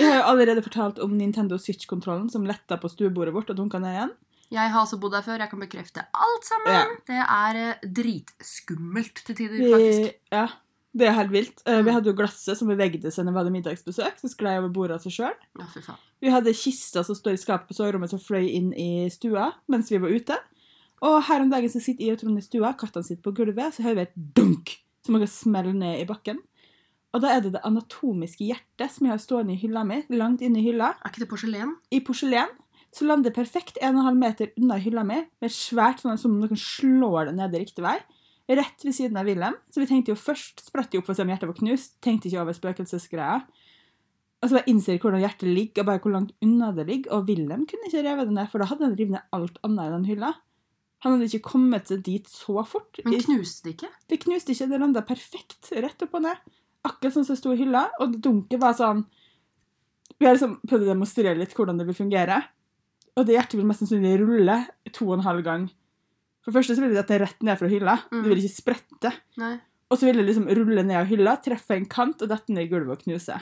Speaker 1: Jeg har jo allerede fortalt om Nintendo Switch-kontrollen som letta på stuebordet vårt og dunka ned igjen.
Speaker 2: Jeg har også bodd der før. Jeg kan bekrefte alt sammen.
Speaker 1: Ja.
Speaker 2: Det er eh, dritskummelt til tider,
Speaker 1: Vi,
Speaker 2: Mm, faktisk.
Speaker 1: ja, det er helt vilt. Eh,
Speaker 2: Mm.
Speaker 1: vi hadde jo glasset som bevegde seg når vi hadde middagsbesøk, så sklei over bordet av seg sjøl.
Speaker 2: Ja, fy faen.
Speaker 1: Vi hadde kista som står i skapet på soverommet som fløy inn i stua mens vi var ute. Og her om dagen så sitter jeg og Trond i stua, kattene sitter på gulvet, så hører vi et dunk som noe smeller ned i bakken. Og da er det det anatomiske hjertet som jeg har stående i hylla mi, langt inne i hylla,
Speaker 2: Er ikke det porselen?
Speaker 1: i porselen, som lander perfekt 1,5 meter unna hylla mi, med svært sånn som om noen slår det ned i riktig vei, rett ved siden av Wilhelm. Så vi tenkte jo først, spratt jo opp for å se om hjertet var knust, tenkte ikke over spøkelsesgreia. Og så bare innser jeg hvordan hjertet ligger, og bare hvor langt unna det ligger, og Wilhelm kunne ikke revet det ned, for da hadde han revet ned alt annet i den hylla. Han hadde ikke kommet seg dit så fort.
Speaker 2: Men knuste det ikke?
Speaker 1: Det knuste ikke, det landa perfekt rett opp og ned. Akkurat sånn som det sto i hylla. Og dunket var sånn Vi har liksom prøvd å demonstrere litt hvordan det vil fungere. Og det hjertet vil mest sannsynlig rulle to og en halv gang. For det første så vil det at det er rett ned fra hylla.
Speaker 2: Mm.
Speaker 1: Det vil ikke sprette.
Speaker 2: Nei.
Speaker 1: Og så vil det liksom rulle ned av hylla, treffe en kant og dette ned i gulvet og knuse.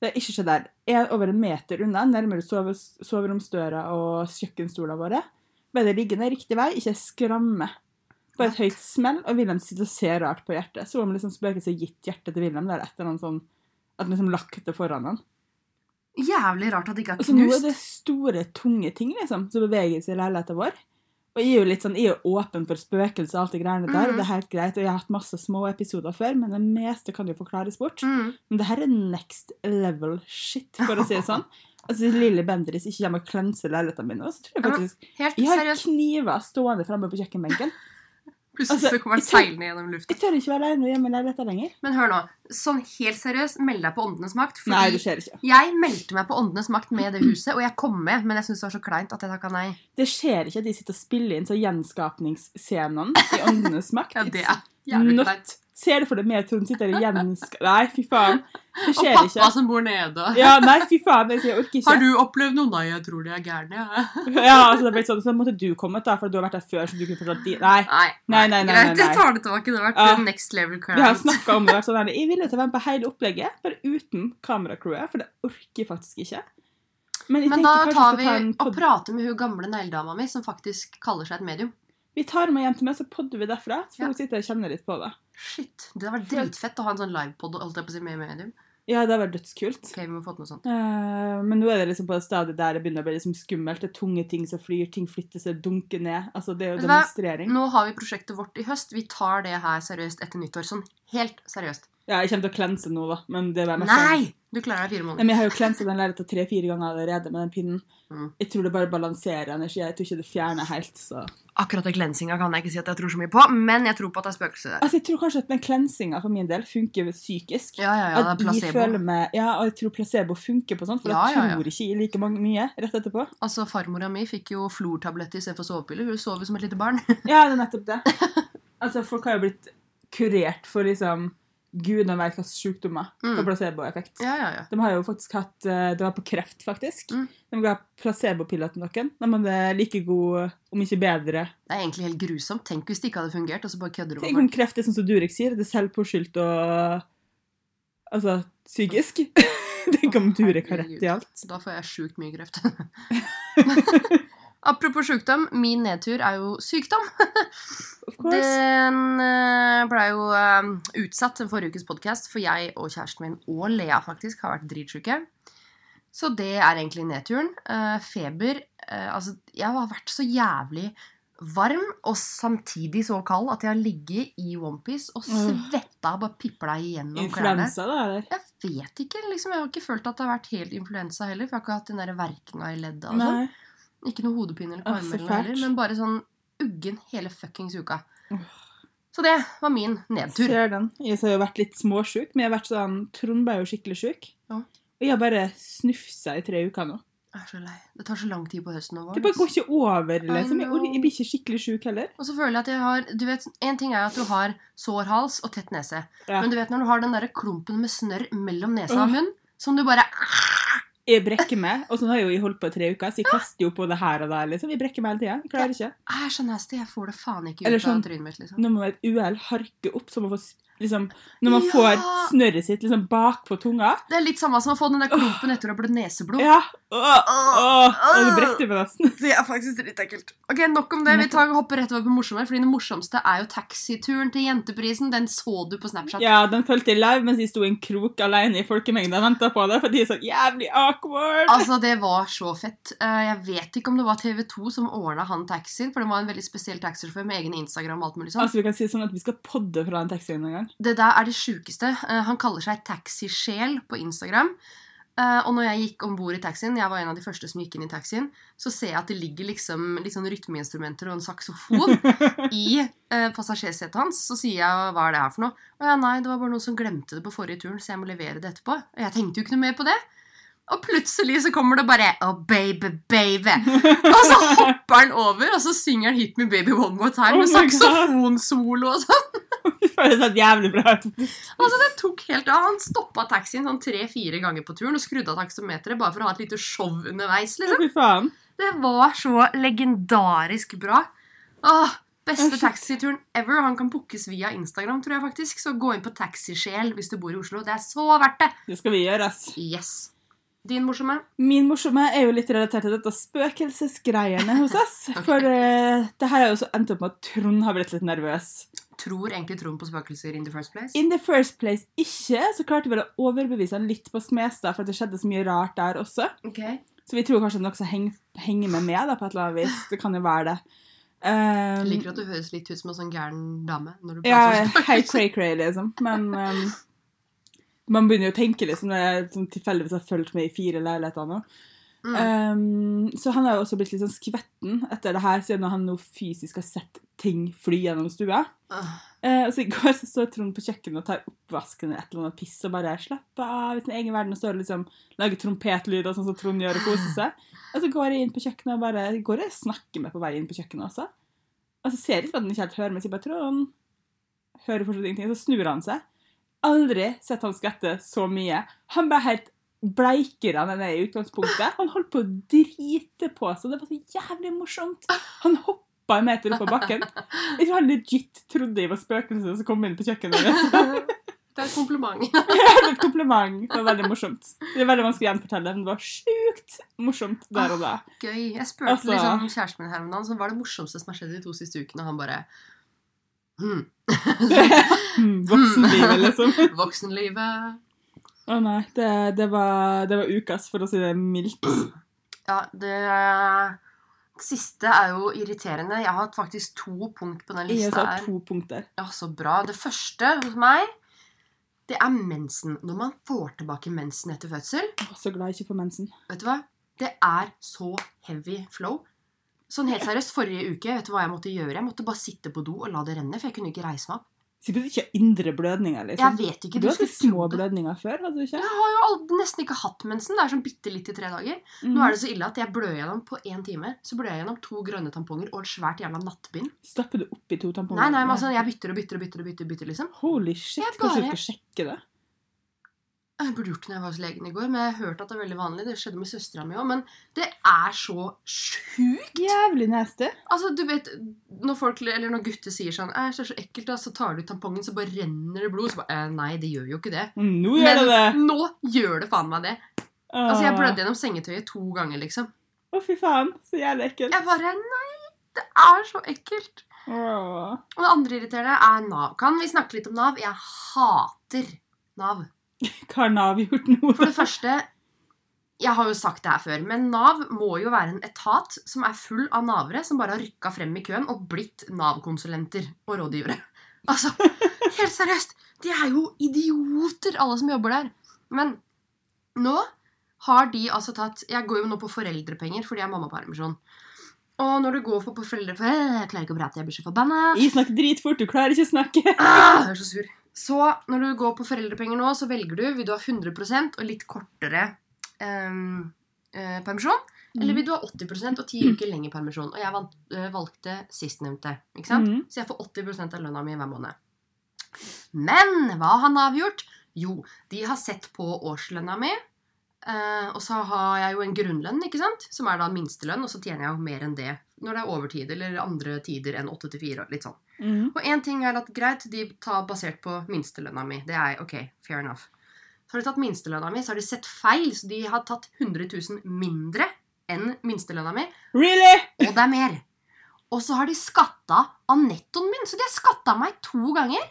Speaker 1: Det er ikke skjedd der. Jeg er over en meter unna, nærmere sove, soveromsdøra og kjøkkenstolene våre. Bare liggende riktig vei, ikke skramme. Bare et høyt smell, og Wilhelm sitter og ser rart på hjertet. Som om liksom spøkelset har gitt hjertet til Wilhelm. Det er et eller annet sånn at han liksom lakk det foran han.
Speaker 2: Jævlig rart at det ikke er
Speaker 1: Altså, nå er
Speaker 2: knust.
Speaker 1: det store, tunge ting liksom, som beveger seg i leiligheten vår. Og jeg er jo litt sånn, jeg er jo åpen for spøkelser og alt det greiene der.
Speaker 2: Mhm.
Speaker 1: og Det er helt greit, og jeg har hatt masse små episoder før, men det meste kan jo forklares bort.
Speaker 2: Mm.
Speaker 1: Men det her er next level shit, for å si det sånn. Altså, hvis lille Bendris ikke kommer og klenser leiligheten min nå, så tror jeg
Speaker 2: Ja, men-
Speaker 1: faktisk...
Speaker 2: Helt
Speaker 1: Jeg har
Speaker 2: seriøst.
Speaker 1: kniver stående fremme på kjøkkenbenken.
Speaker 2: Plutselig
Speaker 1: altså,
Speaker 2: så kommer den
Speaker 1: jeg tror-
Speaker 2: seilende gjennom lufta.
Speaker 1: Jeg tør ikke være alene hjemme i leiligheten lenger.
Speaker 2: Men hør nå, sånn helt seriøst, meld deg på Åndenes makt. Fordi
Speaker 1: Nei, det skjer ikke.
Speaker 2: jeg meldte meg på Åndenes makt med det huset, og jeg kom med, men jeg syntes det var så kleint at jeg takka nei.
Speaker 1: Det skjer ikke at de sitter og spiller inn så gjenskapningsscenen i Åndenes makt.
Speaker 2: Ja, det er
Speaker 1: It's
Speaker 2: jævlig
Speaker 1: not
Speaker 2: kleint.
Speaker 1: Ser du for deg meg og Trond sitter der og gjenskar Nei, fy faen. Det
Speaker 2: Og
Speaker 1: skjer
Speaker 2: pappa
Speaker 1: ikke.
Speaker 2: som bor nede.
Speaker 1: Ja, nei, fy faen. Jeg, sier, jeg orker ikke.
Speaker 2: Har du opplevd noe? Nei, jeg tror de er gærne. jeg.
Speaker 1: Ja, altså det ble sånn, så måtte du kommet da, for du har vært der før, så du kunne fortsatt di... Nei.
Speaker 2: Nei,
Speaker 1: Nei, nei, nei, nei,
Speaker 2: greit.
Speaker 1: nei.
Speaker 2: Jeg tar det tilbake. Det har vært
Speaker 1: Ja.
Speaker 2: eh, next level
Speaker 1: Vi har
Speaker 2: crime.
Speaker 1: snakket om det. vært Sånn her, jeg ville til å være med på hele opplegget, bare uten kameracrewet, for det orker jeg faktisk ikke. Men, jeg
Speaker 2: Men
Speaker 1: tenkte
Speaker 2: da
Speaker 1: kanskje jeg
Speaker 2: tar
Speaker 1: skal
Speaker 2: vi
Speaker 1: ta en
Speaker 2: og
Speaker 1: pod-
Speaker 2: prater med hun gamle negledama mi, som faktisk kaller seg et medium.
Speaker 1: Vi tar meg hjem til meg, så podder vi derfra. Så får
Speaker 2: Ja.
Speaker 1: hun sitte og kjenne litt på det.
Speaker 2: Shit, det hadde vært dritfett å ha en sånn livepod holdt jeg på å si, med medium.
Speaker 1: Ja, det har vært dødskult.
Speaker 2: Ok, vi må få til noe sånt.
Speaker 1: Eh, men nå er det liksom på et stadium der det begynner å bli liksom skummelt. Det er tunge ting som flyr, ting flytter seg, dunker ned. Altså, det er jo
Speaker 2: Vet du hva?
Speaker 1: demonstrering.
Speaker 2: Nå har vi prosjektet vårt i høst. Vi tar det her seriøst etter nyttår. Sånn helt seriøst.
Speaker 1: Ja, jeg kommer til å klense nå, da. Men det er bare mest sånn-
Speaker 2: Nei! Du klarer deg fire
Speaker 1: Nei,
Speaker 2: måneder.
Speaker 1: men jeg har jo klenset den leiligheten tre-fire ganger allerede med den pinnen.
Speaker 2: Mm.
Speaker 1: Jeg tror det bare balanserer energi. Jeg tror ikke det fjerner helt, så
Speaker 2: Akkurat den glensinga kan jeg ikke si at jeg tror så mye på, men jeg tror på at det er spøkelse der.
Speaker 1: Altså, jeg tror kanskje at den klensinga for min del funker psykisk.
Speaker 2: Ja, ja, ja, det er
Speaker 1: at jeg
Speaker 2: placebo.
Speaker 1: føler meg Ja, og jeg tror placebo funker på sånt, for
Speaker 2: Ja,
Speaker 1: jeg
Speaker 2: ja, ja.
Speaker 1: tror ikke jeg like mange mye rett etterpå.
Speaker 2: Altså, Farmora mi fikk jo flortabletter istedenfor sovepiller. Hun sover som et lite barn.
Speaker 1: Ja, det er nettopp det. Altså, folk har jo blitt kurert for liksom gudene vet hvilke sykdommer
Speaker 2: Mm.
Speaker 1: på placeboeffekt.
Speaker 2: Ja, ja, ja.
Speaker 1: De har jo faktisk hatt eh, Det var på kreft, faktisk.
Speaker 2: Mm.
Speaker 1: De ga placebopiller til noen. De hadde like god, om ikke bedre,
Speaker 2: Det er egentlig helt grusomt. Tenk hvis det ikke hadde fungert, og så bare kødder du
Speaker 1: Tenk
Speaker 2: med
Speaker 1: om kreft er sånn som Durek sier, det er selvpåskyldt og Altså psykisk. Tenk om Durek har rett i alt.
Speaker 2: meg. Da får jeg sjukt mye kreft. Apropos sjukdom, min nedtur er jo sykdom.
Speaker 1: Of course.
Speaker 2: Den eh, ble jo eh, utsatt til forrige ukes podkast, for jeg og kjæresten min og Lea faktisk har vært dritsjuke. Så det er egentlig nedturen. Eh, feber eh, Altså, jeg har vært så jævlig varm og samtidig så kald at jeg har ligget i onepiece og
Speaker 1: Åh.
Speaker 2: svetta og bare pipla igjennom klærne.
Speaker 1: Influensa, da, eller?
Speaker 2: Jeg vet ikke. liksom, Jeg har ikke følt at det har vært helt influensa heller. For jeg har ikke hatt den der verkinga i ledda. og sånn.
Speaker 1: Nei.
Speaker 2: Ikke noe hodepine eller
Speaker 1: Åh, så
Speaker 2: kvalme eller noe heller,
Speaker 1: fælt.
Speaker 2: men bare sånn uggen hele fuckings uka.
Speaker 1: Åh.
Speaker 2: Så det var min nedtur.
Speaker 1: Ser den. Jeg har jo vært litt småsjuk, men jeg har vært sånn Trond ble jo skikkelig sjuk.
Speaker 2: Ja.
Speaker 1: Og jeg har bare snufsa i tre uker nå.
Speaker 2: Jeg er så lei. Det tar så lang tid på høsten og
Speaker 1: Det bare
Speaker 2: våren.
Speaker 1: går ikke over, liksom. Jeg,
Speaker 2: know.
Speaker 1: jeg blir ikke skikkelig sjuk heller.
Speaker 2: Og så føler jeg at jeg har du vet, En ting er at du har sår hals og tett nese.
Speaker 1: Ja.
Speaker 2: Men du vet når du har den der klumpen med snørr mellom nesa
Speaker 1: Åh.
Speaker 2: og munn, som du bare
Speaker 1: Jeg brekker meg, og sånn har jeg jo jeg holdt på i tre uker, så jeg kaster jo på det her og der, liksom. Jeg brekker meg hele tida. Jeg klarer ikke.
Speaker 2: er så nasty. «Ah, Jeg får det faen ikke ut
Speaker 1: Eller
Speaker 2: av
Speaker 1: sånn-
Speaker 2: trynet mitt. liksom.
Speaker 1: Nå må et uhell harke opp, så man får s- liksom Når man
Speaker 2: Ja!
Speaker 1: får snørret sitt liksom bakpå tunga.
Speaker 2: Det er litt samme som å få den der klumpen etter å ha blødd neseblod.
Speaker 1: Ja! Åh, åh, åh, du brekte meg nesten.
Speaker 2: Det er faktisk dritekkelt. Ok, Nok om det. Vi tar og hopper rett over på morsommere. Fordi det morsomste er jo taxituren til Jenteprisen. Den så du på Snapchat.
Speaker 1: Ja, Den fulgte jeg live mens jeg sto i en krok alene i folkemengden og venta på det, for de er så jævlig awkward.
Speaker 2: Altså, Det var så fett. Eh, Jeg vet ikke om det var TV2 som ordna han taxien. For det var en veldig spesiell taxisjåfør med egen Instagram. og alt mulig sånn.
Speaker 1: Altså, Vi kan si det sånn at vi skal podde fra den taxien en gang.
Speaker 2: Det der er det sjukeste. Eh, Han kaller seg Taxisjel på Instagram. Eh, Og når jeg gikk om bord i taxien, jeg var en av de første som gikk inn i taxien, så ser jeg at det ligger liksom, litt sånn rytmeinstrumenter og en saksofon i eh, passasjersetet hans. Så sier jeg 'hva er det her for noe?' Og ja, nei, det var bare noen som glemte det på forrige turen, så jeg må levere det etterpå. Og jeg tenkte jo ikke noe mer på det. Og plutselig så kommer det bare 'oh, baby, baby'. Og så hopper han over, og så synger han 'Hit me baby one more time' med
Speaker 1: Oh my God.
Speaker 2: saksofonsolo og sånn.
Speaker 1: Det føles helt jævlig bra ut.
Speaker 2: Altså, det tok helt av. Han stoppa taxien sånn tre-fire ganger på turen og skrudde av taksometeret bare for å ha et lite show underveis. liksom.
Speaker 1: Fy faen.
Speaker 2: Det var så legendarisk bra. Åh, beste
Speaker 1: Shit.
Speaker 2: taxituren ever. Han kan bookes via Instagram, tror jeg faktisk. Så gå inn på Taxisjel hvis du bor i Oslo. Det er så verdt det.
Speaker 1: Det skal vi gjøre, ass.
Speaker 2: Yes. Din morsomme?
Speaker 1: Min morsomme er jo litt relatert til dette spøkelsesgreiene hos oss. For eh, det her har jo også endt opp med at Trond har blitt litt nervøs.
Speaker 2: Tror egentlig Trond på spøkelser in the first place?
Speaker 1: In the first place ikke, så klarte vi å overbevise han litt på Smestad, for at det skjedde så mye rart der også.
Speaker 2: Ok.
Speaker 1: Så vi tror kanskje det er noe som henger, henger med meg da, på et eller annet vis. Det kan jo være det. Um,
Speaker 2: Jeg liker at du høres litt ut som en sånn gæren dame. når du
Speaker 1: ja,
Speaker 2: prater om
Speaker 1: helt cray-cray, liksom. Men um, man begynner jo å tenke, liksom, når jeg som tilfeldigvis har fulgt med i fire leiligheter nå.
Speaker 2: Mm.
Speaker 1: Um, så han har jo også blitt litt sånn skvetten etter det her, siden han nå fysisk har sett ting fly gjennom stua.
Speaker 2: Åh,
Speaker 1: Eh, og så I går så står Trond på kjøkkenet og tar oppvasken eller et eller annet piss og bare slapper av i sin egen verden og står og liksom, lager trompetlyder sånn som Trond gjør og koser seg. Og så går jeg inn på kjøkkenet og bare går jeg og snakker med på vei inn på kjøkkenet også. Og så ser jeg liksom at han ikke helt hører meg, så jeg bare 'Trond, hører fortsatt ingenting. Så snur han seg. Aldri sett han skvette så mye. Han ble helt bleikere enn han er i utgangspunktet. Han holdt på å drite på seg. Det var så jævlig morsomt. Han hoppa en meter opp på bakken. Jeg tror han legit trodde jeg var spøkelset som kom inn på kjøkkenet. mitt.
Speaker 2: Det er et kompliment.
Speaker 1: Det var Et kompliment. Det var veldig morsomt. Det er veldig vanskelig å gjenfortelle, men det var sjukt morsomt der og da.
Speaker 2: Gøy. Jeg spurte
Speaker 1: Altså-
Speaker 2: liksom kjæresten min her om dagen så hva er det morsomste som har skjedd de to siste ukene, og han bare Hm.
Speaker 1: Mm, Voksenlivet, liksom.
Speaker 2: Voksenlivet
Speaker 1: Å nei, det, det, var, det var ukas, for å si det mildt.
Speaker 2: Ja, det siste er jo irriterende. Jeg har hatt faktisk to punkt på den
Speaker 1: Jeg
Speaker 2: lista
Speaker 1: sa
Speaker 2: her.
Speaker 1: to punkter.
Speaker 2: Ja, så bra. Det første hos meg, det er mensen. Når man får tilbake mensen etter fødsel,
Speaker 1: Jeg var så glad jeg ikke får mensen.
Speaker 2: vet du hva? Det er så heavy flow. Sånn helt seriøst, forrige uke, vet du hva jeg måtte gjøre? Jeg måtte bare sitte på do og la det renne, for jeg kunne ikke reise meg opp.
Speaker 1: Sikkert ikke indre blødninger,
Speaker 2: Jeg
Speaker 1: liksom.
Speaker 2: vet
Speaker 1: Du
Speaker 2: ikke, du
Speaker 1: har hatt
Speaker 2: skulle
Speaker 1: små
Speaker 2: trodd det.
Speaker 1: blødninger før, hadde du ikke?
Speaker 2: Jeg har jo aldri, nesten ikke hatt mensen. Det er sånn bitte litt i tre dager.
Speaker 1: Mm.
Speaker 2: Nå er det så ille at jeg blør gjennom på én time. Så blør jeg gjennom to grønne tamponger og et svært jævla nattbind.
Speaker 1: Mm. Stapper du oppi to tamponger?
Speaker 2: Nei, nei, men altså, jeg bytter og bytter og bytter, og bytter, bytter liksom.
Speaker 1: Holy shit,
Speaker 2: Jeg
Speaker 1: kanskje du
Speaker 2: bare-
Speaker 1: skal sjekke det?
Speaker 2: Jeg burde gjort det når jeg var hos legen i går, men jeg har hørt at det er veldig vanlig. Det skjedde med søstera mi òg. Men det er så sjukt!
Speaker 1: Jævlig nasty.
Speaker 2: Altså, du vet, når, folk, eller når gutter sier sånn «Æsj, det er så ekkelt, da, så tar du ut tampongen, så bare renner det blod. Så bare «Eh, Nei, det gjør jo ikke det.
Speaker 1: Nå gjør
Speaker 2: Men
Speaker 1: det det! Ah.
Speaker 2: nå gjør det faen meg det.
Speaker 1: Åh.
Speaker 2: Altså, Jeg blødde gjennom sengetøyet to ganger, liksom.
Speaker 1: Å, fy faen. Så jævlig ekkelt.
Speaker 2: Jeg bare Nei, det er så ekkelt.
Speaker 1: Åh.
Speaker 2: Og det andre irriterende er Nav. Kan vi snakke litt om Nav? Jeg hater Nav.
Speaker 1: Hva har Nav gjort nå?
Speaker 2: For det første Jeg har jo sagt det her før, men Nav må jo være en etat som er full av navere som bare har rykka frem i køen og blitt Nav-konsulenter og rådgivere. Altså, helt seriøst! De er jo idioter, alle som jobber der. Men nå har de altså tatt Jeg går jo nå på foreldrepenger fordi jeg er mammapermisjon. Og når du går på, på foreldrepenger Jeg klarer ikke å prate, jeg blir så forbanna.
Speaker 1: Jeg snakker dritfort, du klarer ikke å snakke.
Speaker 2: Ah, jeg er så sur. Så når du går på foreldrepenger nå, så velger du vil du ha 100 og litt kortere ehm, eh, permisjon. Eller vil du ha 80 og ti uker lengre permisjon? Og jeg vant, eh, valgte sistnevnte. ikke sant?
Speaker 1: Mhm.
Speaker 2: Så jeg får 80 av lønna mi hver måned. Men hva har Nav gjort? Jo, de har sett på årslønna mi. eh, og så har jeg jo en grunnlønn, ikke sant? som er da minstelønn. Og så tjener jeg jo mer enn det når det er overtid eller andre tider enn 8 til 4. Litt sånn.
Speaker 1: Mhm.
Speaker 2: Og én ting er at greit, de tar basert på minstelønna mi. Det er ok, fair enough. Så har de tatt minstelønna mi, så har de sett feil. Så de har tatt 100 000 mindre enn minstelønna mi,
Speaker 1: Really?
Speaker 2: og det er mer. Og så har de skatta av nettoen min, så de har skatta meg to ganger.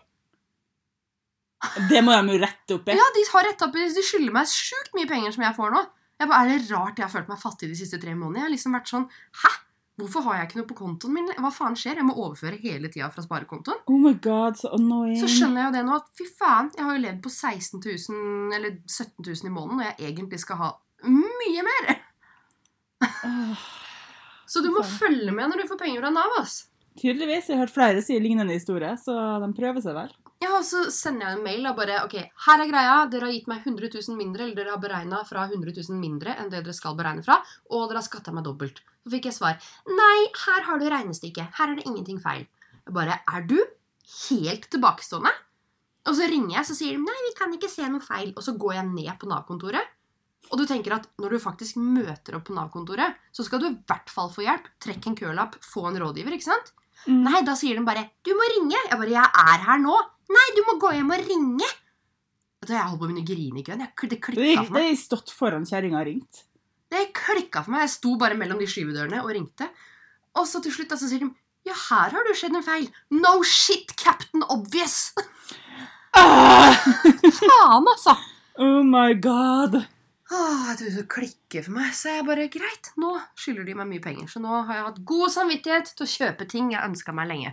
Speaker 1: Det må de jo rette opp i.
Speaker 2: Ja, De har rett opp, i- de skylder meg sjukt mye penger som jeg får nå. Jeg bare, Er det rart jeg har følt meg fattig de siste tre månedene? Jeg har liksom vært sånn Hæ? Hvorfor har jeg ikke noe på kontoen min? Hva faen skjer? Jeg må overføre hele tida fra sparekontoen.
Speaker 1: Oh my god, så annoying.
Speaker 2: Så skjønner jeg jo det nå at fy faen, jeg har jo levd på 16 000 eller 17 000 i måneden, og jeg egentlig skal ha mye mer.
Speaker 1: Åh.
Speaker 2: Så du må
Speaker 1: Faen.
Speaker 2: følge med når du får penger fra Nav. ass.
Speaker 1: Tydeligvis. Jeg har hørt flere si lignende historier, så de prøver seg vel.
Speaker 2: Ja, og så sender jeg en mail og bare OK, her er greia. Dere har gitt meg 100 000 mindre, eller dere har beregna fra 100 000 mindre enn det dere skal beregne fra, og dere har skatta meg dobbelt. Så fikk jeg svar. Nei, her har du regnestykket. Her er det ingenting feil. Jeg bare Er du helt tilbakestående? Og så ringer jeg, så sier de nei, vi kan ikke se noe feil. Og så går jeg ned på Nav-kontoret. Og du tenker at når du faktisk møter opp på Nav-kontoret, så skal du i hvert fall få hjelp. Trekk en kølapp, få en rådgiver, ikke sant?
Speaker 1: Mm.
Speaker 2: Nei, da sier de bare 'du må ringe'. Jeg bare 'jeg er her nå'. Nei, du må gå hjem og ringe. Vet du, Jeg holdt på å begynne å grine i køen. Jeg- Det
Speaker 1: Det
Speaker 2: klikka
Speaker 1: gikk,
Speaker 2: for
Speaker 1: det
Speaker 2: meg.
Speaker 1: gikk stått foran kjerringa og ringt.
Speaker 2: Det klikket for meg. Jeg sto bare mellom de skyvedørene og ringte. Og så til slutt da, så sier de 'ja, her har du skjedd en feil'. No shit, Captain Obvious!
Speaker 1: Ah!
Speaker 2: Faen, altså!
Speaker 1: Oh my god.
Speaker 2: Åh, jeg trodde det klikke for meg, så jeg bare Greit, nå skylder de meg mye penger. Så nå har jeg hatt god samvittighet til å kjøpe ting jeg ønska meg lenge.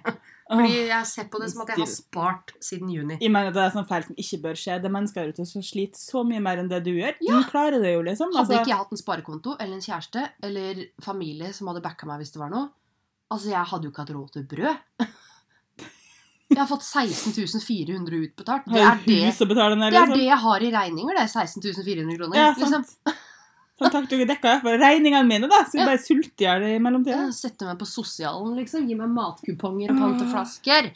Speaker 2: Fordi
Speaker 1: Åh.
Speaker 2: jeg ser på det som at jeg har spart siden juni.
Speaker 1: Jeg Ah. mener Det er sånn feil som ikke bør skje. Det er mennesker der ute som sliter så mye mer enn det du gjør.
Speaker 2: Ja.
Speaker 1: Du klarer det jo, liksom.
Speaker 2: Hadde
Speaker 1: Altså,
Speaker 2: ikke jeg hatt en sparekonto eller en kjæreste eller familie som hadde backa meg hvis det var noe Altså, jeg hadde jo ikke hatt råd til brød. Jeg har fått 16 400 utbetalt. Det
Speaker 1: har
Speaker 2: er
Speaker 1: jo
Speaker 2: det,
Speaker 1: hus å betale ned,
Speaker 2: det er
Speaker 1: liksom.
Speaker 2: det jeg har i regninger, det. er 16 400 kroner.
Speaker 1: Ja,
Speaker 2: liksom,
Speaker 1: sant. Sånn, takk dere dekka i hvert fall regningene mine, da. Så vi
Speaker 2: Ja.
Speaker 1: bare sulter i hjel i
Speaker 2: eh,
Speaker 1: mellomtida. Ah.
Speaker 2: jeg setter meg på sosialen, liksom. Gi meg matkuponger og panteflasker.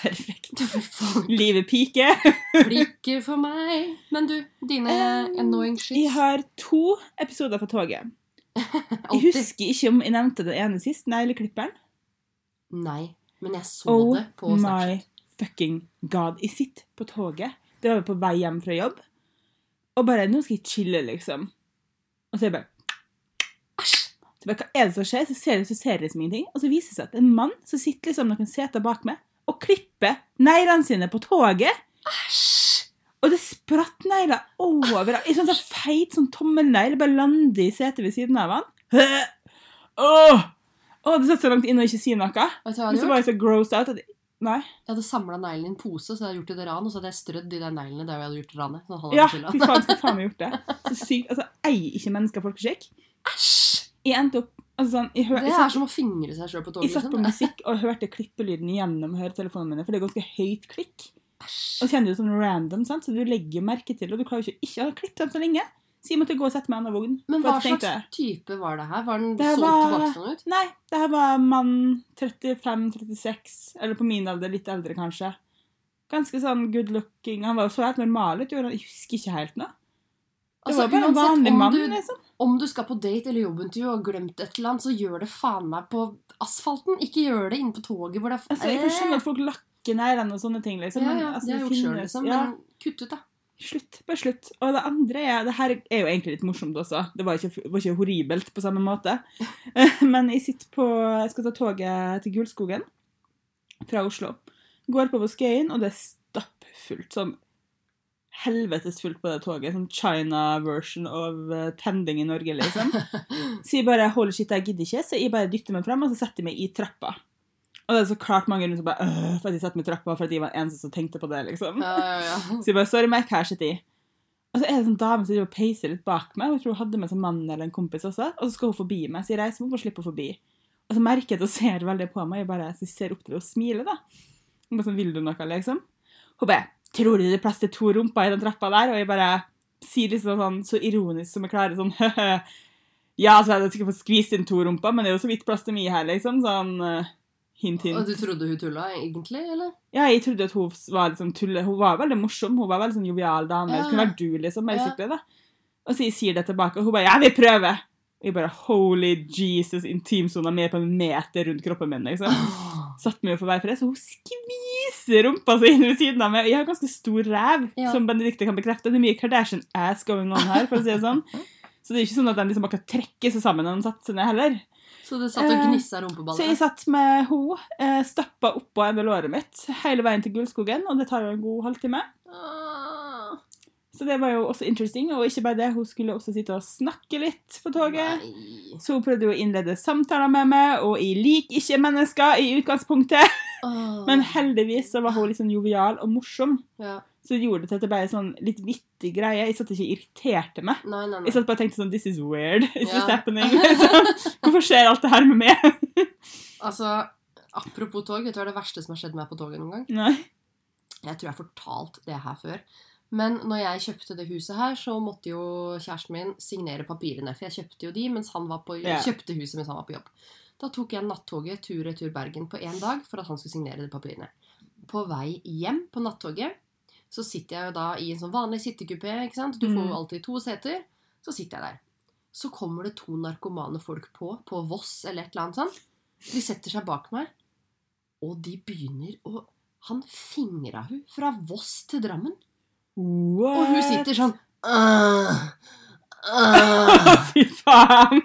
Speaker 1: Perfekt.
Speaker 2: Fy faen.
Speaker 1: Livet piker.
Speaker 2: Klikker for meg. Men du, dine
Speaker 1: Um,
Speaker 2: annoying
Speaker 1: Jeg
Speaker 2: shits.
Speaker 1: har to episoder fra toget. Jeg
Speaker 2: Alltid.
Speaker 1: husker ikke om jeg nevnte den ene sist, negleklipperen.
Speaker 2: Nei. Men jeg så
Speaker 1: Oh
Speaker 2: det på
Speaker 1: my
Speaker 2: Snapchat.
Speaker 1: fucking god. Jeg sitter på toget. Det var jo på vei hjem fra jobb. Og bare Nå skal jeg chille, liksom. Og så er jeg bare Æsj! Så bare, Hva er det som skjer? Så ser jeg, så ser jeg liksom ingenting. Og så viser det seg at en mann som sitter liksom noen seter bak meg, og klipper neglene sine på toget.
Speaker 2: Æsj!
Speaker 1: Og det spratt negler over I sånn sånn feit sånn tommelnegl bare landet i setet ved siden av han. Åh! Åh, det satt så langt inn å ikke si noe.
Speaker 2: Vet du
Speaker 1: Men
Speaker 2: hva jeg
Speaker 1: så
Speaker 2: hadde gjort?
Speaker 1: var jeg så grossed out at Nei.
Speaker 2: Jeg hadde samla neglene i en pose, så jeg hadde gjort det ran, og så hadde jeg strødd de der neglene der jeg hadde gjort ranet. Sånn halv
Speaker 1: Ja,
Speaker 2: over
Speaker 1: fy
Speaker 2: skylda.
Speaker 1: faen, skulle faen meg gjort det. Så sykt. Altså, jeg eier ikke mennesker folkeskikk.
Speaker 2: Æsj!
Speaker 1: Jeg endte opp Altså sånn, jeg, hør,
Speaker 2: Det
Speaker 1: jeg,
Speaker 2: er
Speaker 1: satt,
Speaker 2: som å fingre seg sjøl på
Speaker 1: jeg
Speaker 2: toget.
Speaker 1: satt på
Speaker 2: Liksom.
Speaker 1: musikk og hørte klippelyden gjennom høretelefonene mine, for det er ganske høyt klikk. Og
Speaker 2: Æsj.
Speaker 1: så kjenner du sånn random, sant? så du legger jo merke til og du klarer jo ikke ikke å klippe dem så lenge. Så jeg måtte gå og sette meg i en annen vogn.
Speaker 2: Men
Speaker 1: for
Speaker 2: hva
Speaker 1: at jeg tenkte-
Speaker 2: slags type var det her? Var den
Speaker 1: Det
Speaker 2: så
Speaker 1: var-
Speaker 2: tilbakestående ut?
Speaker 1: Nei, det her var mann 35-36, eller på min alder litt eldre, kanskje. Ganske sånn good looking. Han var jo så helt normal ut, gjorde han- jeg husker ikke helt nå. Det
Speaker 2: Altså,
Speaker 1: var bare en
Speaker 2: uansett
Speaker 1: vanlig
Speaker 2: om
Speaker 1: mann,
Speaker 2: du-
Speaker 1: liksom.
Speaker 2: Om du skal på date eller jobbintervju og har glemt et eller annet, så gjør det faen meg på asfalten. Ikke gjør det inne på toget hvor det er
Speaker 1: Altså, jeg kan skjønne at folk lakker neglene og sånne ting, liksom.
Speaker 2: Ja,
Speaker 1: men,
Speaker 2: ja,
Speaker 1: altså,
Speaker 2: det har jeg gjort sjøl,
Speaker 1: finnes-
Speaker 2: liksom.
Speaker 1: ja.
Speaker 2: Men kutt ut, da.
Speaker 1: Slutt, bare slutt. Og det andre er Det her er jo egentlig litt morsomt også. Det var ikke, var ikke horribelt på samme måte. Men jeg sitter på Jeg skal ta toget til Gulskogen fra Oslo. Går på på Skøyen, og det er stappfullt. Sånn helvetes fullt på det toget. Sånn China version of eh, tending i Norge, liksom. Så jeg bare holder shit, jeg gidder ikke, så jeg bare dytter meg fram, og så setter jeg meg i trappa. Og det er så klart mange rundt som bare øh, for at jeg setter meg i trappa, for at jeg var den eneste som tenkte på det, liksom.
Speaker 2: Ja, ja, ja.
Speaker 1: Så jeg bare, sorry, Mac, her sitter jeg. Og så er det en sånn dame som driver og peiser litt bak meg. og Jeg tror hun hadde med seg mannen eller en kompis også. Og så skal hun forbi meg, så jeg reiser meg opp og slipper forbi. Og så merker jeg at hun ser veldig på meg, jeg bare så jeg ser opp til henne og smiler, da. Hun bare sånn, vil du noe, liksom? Hun bare, tror du det er plass til to rumper i den trappa der? Og jeg bare sier liksom sånn, så ironisk som jeg klarer, sånn, «Høhø, Ja, så jeg skal få skvist inn to rumper, men det er jo så vidt plass til meg her, liksom. Sånn, eh, hint, hint.
Speaker 2: Og du trodde hun tulla, egentlig? Eller?
Speaker 1: Ja, jeg trodde at hun var litt sånn tulle. Hun var veldig morsom. Hun var veldig sånn jovial dame.
Speaker 2: Ja.
Speaker 1: Det kunne vært du, liksom.
Speaker 2: Ja.
Speaker 1: basically, da. Og så jeg sier det tilbake, og hun bare 'Ja, vi prøver'. Og jeg bare 'Holy Jesus, intimsona mi er på en meter rundt kroppen min', liksom.
Speaker 2: Ah.
Speaker 1: Satt meg jo for hver fred, så hun skviser rumpa si inn ved siden av meg. Og Jeg har ganske stor ræv,
Speaker 2: Ja.
Speaker 1: som Benedicte kan bekrefte. Det er mye Kardashian-ass going on her, for å si det sånn. Så det er ikke sånn at de liksom bare kan trekke seg sammen når de setter seg ned, heller.
Speaker 2: Så du satt og
Speaker 1: Eh,
Speaker 2: gnissa
Speaker 1: Så jeg
Speaker 2: rumpeballer?
Speaker 1: satt med henne, eh, stappa oppå ene låret mitt hele veien til Gullskogen, og det tar jo en god halvtime.
Speaker 2: Ah,
Speaker 1: Så det var jo også interesting, og ikke bare det, hun skulle også sitte og snakke litt på toget.
Speaker 2: Nei.
Speaker 1: Så hun prøvde jo å innlede samtaler med meg, og jeg liker ikke mennesker i utgangspunktet.
Speaker 2: Ah.
Speaker 1: Men heldigvis så var hun litt sånn jovial og morsom,
Speaker 2: ja.
Speaker 1: så det gjorde det til at det ble en sånn litt vittig greie. Jeg satt ikke og irriterte meg.
Speaker 2: Nei, nei,
Speaker 1: Jeg
Speaker 2: nei.
Speaker 1: satt bare og tenkte sånn This is weird. It's just
Speaker 2: Ja.
Speaker 1: happening. Liksom. Hvorfor skjer alt det her med meg?
Speaker 2: Altså, apropos tog, vet du hva er det verste som har skjedd meg på toget noen gang?
Speaker 1: Nei.
Speaker 2: Jeg tror jeg har fortalt det her før. Men når jeg kjøpte det huset her, så måtte jo kjæresten min signere papirene. For jeg kjøpte jo de mens han var på,
Speaker 1: Ja.
Speaker 2: kjøpte huset mens han var på jobb. Da tok jeg nattoget tur-retur Bergen på én dag for at han skulle signere de papirene. På vei hjem på nattoget så sitter jeg jo da i en sånn vanlig sittekupé. ikke sant? Du får
Speaker 1: Mm.
Speaker 2: jo alltid to seter. Så sitter jeg der. Så kommer det to narkomane folk på, på Voss eller et eller annet sånt. De setter seg bak meg, og de begynner å han fingra hun fra Voss til Drammen.
Speaker 1: What?
Speaker 2: Og hun sitter sånn «Øh, øh,
Speaker 1: Fy faen!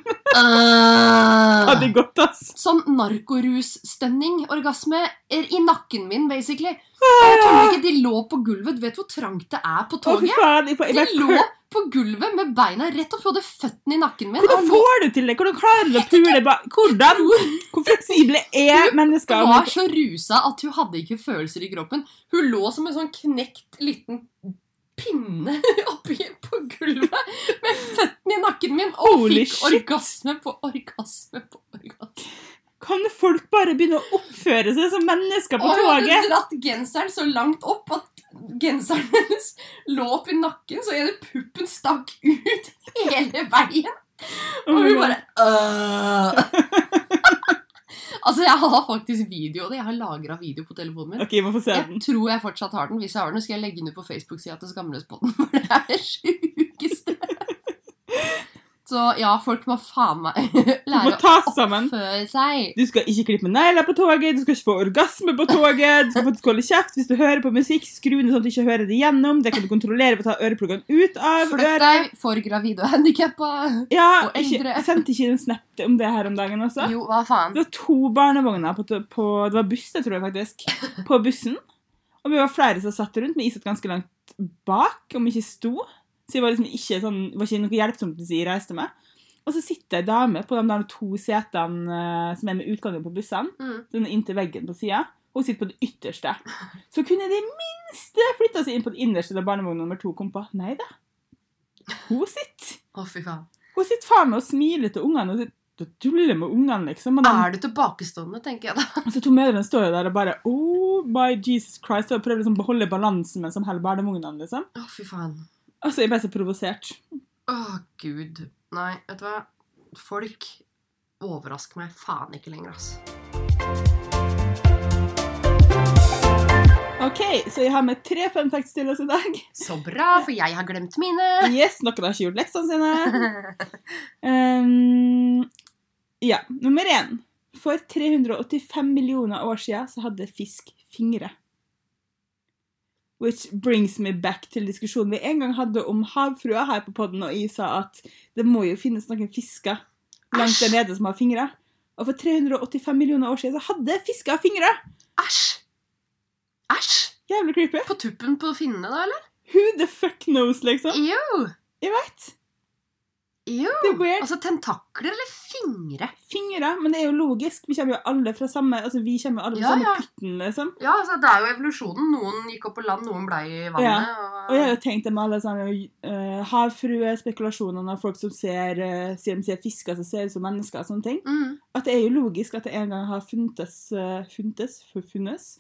Speaker 1: Hadde
Speaker 2: øh».
Speaker 1: gått, ass.
Speaker 2: Sånn narkorusstønning, orgasme, er i nakken min, basically. Og jeg tror ikke de lå på gulvet. Du vet hvor trangt det er på
Speaker 1: Å, fy
Speaker 2: toget?
Speaker 1: faen. Jeg, jeg,
Speaker 2: De
Speaker 1: jeg,
Speaker 2: lå på gulvet med beina rett opp, og hadde føttene i nakken min.
Speaker 1: Hvordan
Speaker 2: Og
Speaker 1: får du til det? Hvordan klarer du å pule ba- Hvordan? Hvor fleksible er mennesker?
Speaker 2: Hun var så rusa at hun hadde ikke følelser i kroppen. Hun lå som en sånn knekt liten pinne oppi på gulvet med føttene i nakken min og
Speaker 1: Holy
Speaker 2: fikk
Speaker 1: shit.
Speaker 2: orgasme på orgasme på orgasme.
Speaker 1: Kan folk bare begynne å oppføre seg som mennesker
Speaker 2: Og
Speaker 1: på
Speaker 2: hun hadde
Speaker 1: toget?
Speaker 2: dratt genseren så langt opp at genseren hennes lå oppi nakken, så hele puppen stakk ut hele veien.
Speaker 1: Oh
Speaker 2: Og
Speaker 1: my
Speaker 2: hun
Speaker 1: God.
Speaker 2: bare «Øh». Altså, jeg har faktisk video av det. Jeg har lagra video på telefonen
Speaker 1: Mm.
Speaker 2: min.
Speaker 1: Ok, vi må få se den.
Speaker 2: Jeg tror jeg fortsatt har den. Hvis jeg har den, skal jeg legge den ut på Facebook-sida til Skamløspodden. For det er det sjukeste. Så ja, folk må faen meg
Speaker 1: Du må
Speaker 2: lære å
Speaker 1: ta oss sammen.
Speaker 2: oppføre seg.
Speaker 1: Du skal ikke klippe negler på toget, du skal ikke få orgasme på toget, du skal faktisk holde kjeft hvis du hører på musikk, skru ned sånn at du ikke hører det gjennom, det kan du kontrollere ved å ta ørepluggene ut av
Speaker 2: Flytt
Speaker 1: øret.
Speaker 2: deg for gravide og handikappa.
Speaker 1: Ja,
Speaker 2: og
Speaker 1: ikke,
Speaker 2: eldre.
Speaker 1: sendte ikke en snap om det her om dagen også?
Speaker 2: Jo, hva faen.
Speaker 1: Det var to barnevogner på, t- på Det var buss, det tror jeg faktisk. På bussen. Og vi var flere som satt rundt, men jeg satt ganske langt bak, om ikke sto. Så jeg var liksom ikke sånn, var ikke noe hjelpsomt hvis jeg reiste med. Og så sitter ei dame på de der to setene eh, som er med utgangen på bussene,
Speaker 2: Mm.
Speaker 1: sånn inntil veggen på sida. Hun sitter på det ytterste. Så kunne de minste flytta seg inn på det innerste da barnevogn nummer to kom på. Nei da. Hun sitter.
Speaker 2: Å, fy faen.
Speaker 1: Hun sitter faen meg og smiler til ungene. Hun sitter og tuller med ungene, liksom. Og de
Speaker 2: Er du tilbakestående, tenker jeg da.
Speaker 1: og så to mødrene Altså, står jo der og bare Oh my Jesus Christ. Og prøver liksom å beholde balansen mens de holder barnevognene. Liksom.
Speaker 2: Å, fy faen.
Speaker 1: Og så er jeg bare så provosert.
Speaker 2: Å, gud. Nei, vet du hva? Folk overrasker meg faen ikke lenger, ass.
Speaker 1: OK, så jeg har med tre fun facts til oss i dag.
Speaker 2: Så bra, for jeg har glemt mine.
Speaker 1: Yes, Noen har ikke gjort leksene sine. Um, ja, nummer én. For 385 millioner år siden så hadde fisk fingre. Which brings me back til diskusjonen vi en gang hadde om havfrua her på podden, og jeg sa at det må jo finnes noen fisker langt der nede som har fingre. Og for 385 millioner år siden så hadde fisker fingre!
Speaker 2: Æsj! Æsj!
Speaker 1: Jævlig creepy.
Speaker 2: På tuppen på finnene, da, eller?
Speaker 1: Who the fuck knows, liksom?
Speaker 2: Jo!
Speaker 1: Jeg veit.
Speaker 2: Jo!
Speaker 1: Det er weird.
Speaker 2: Altså tentakler eller fingre?
Speaker 1: Fingre, men det er jo logisk. Vi kommer jo alle fra samme altså vi kommer jo alle fra
Speaker 2: Ja,
Speaker 1: samme
Speaker 2: ja.
Speaker 1: pytten, liksom.
Speaker 2: Ja, altså det er jo evolusjonen. Noen gikk opp på land, noen blei i vannet.
Speaker 1: Og jeg har jo tenkt det med alle sånne eh, havfruespekulasjonene av folk som ser, eh, sier de ser fisker som ser ut som mennesker og sånne ting,
Speaker 2: Mm,
Speaker 1: at det er jo logisk at det en gang har funtes eh, Funtes? Funnes?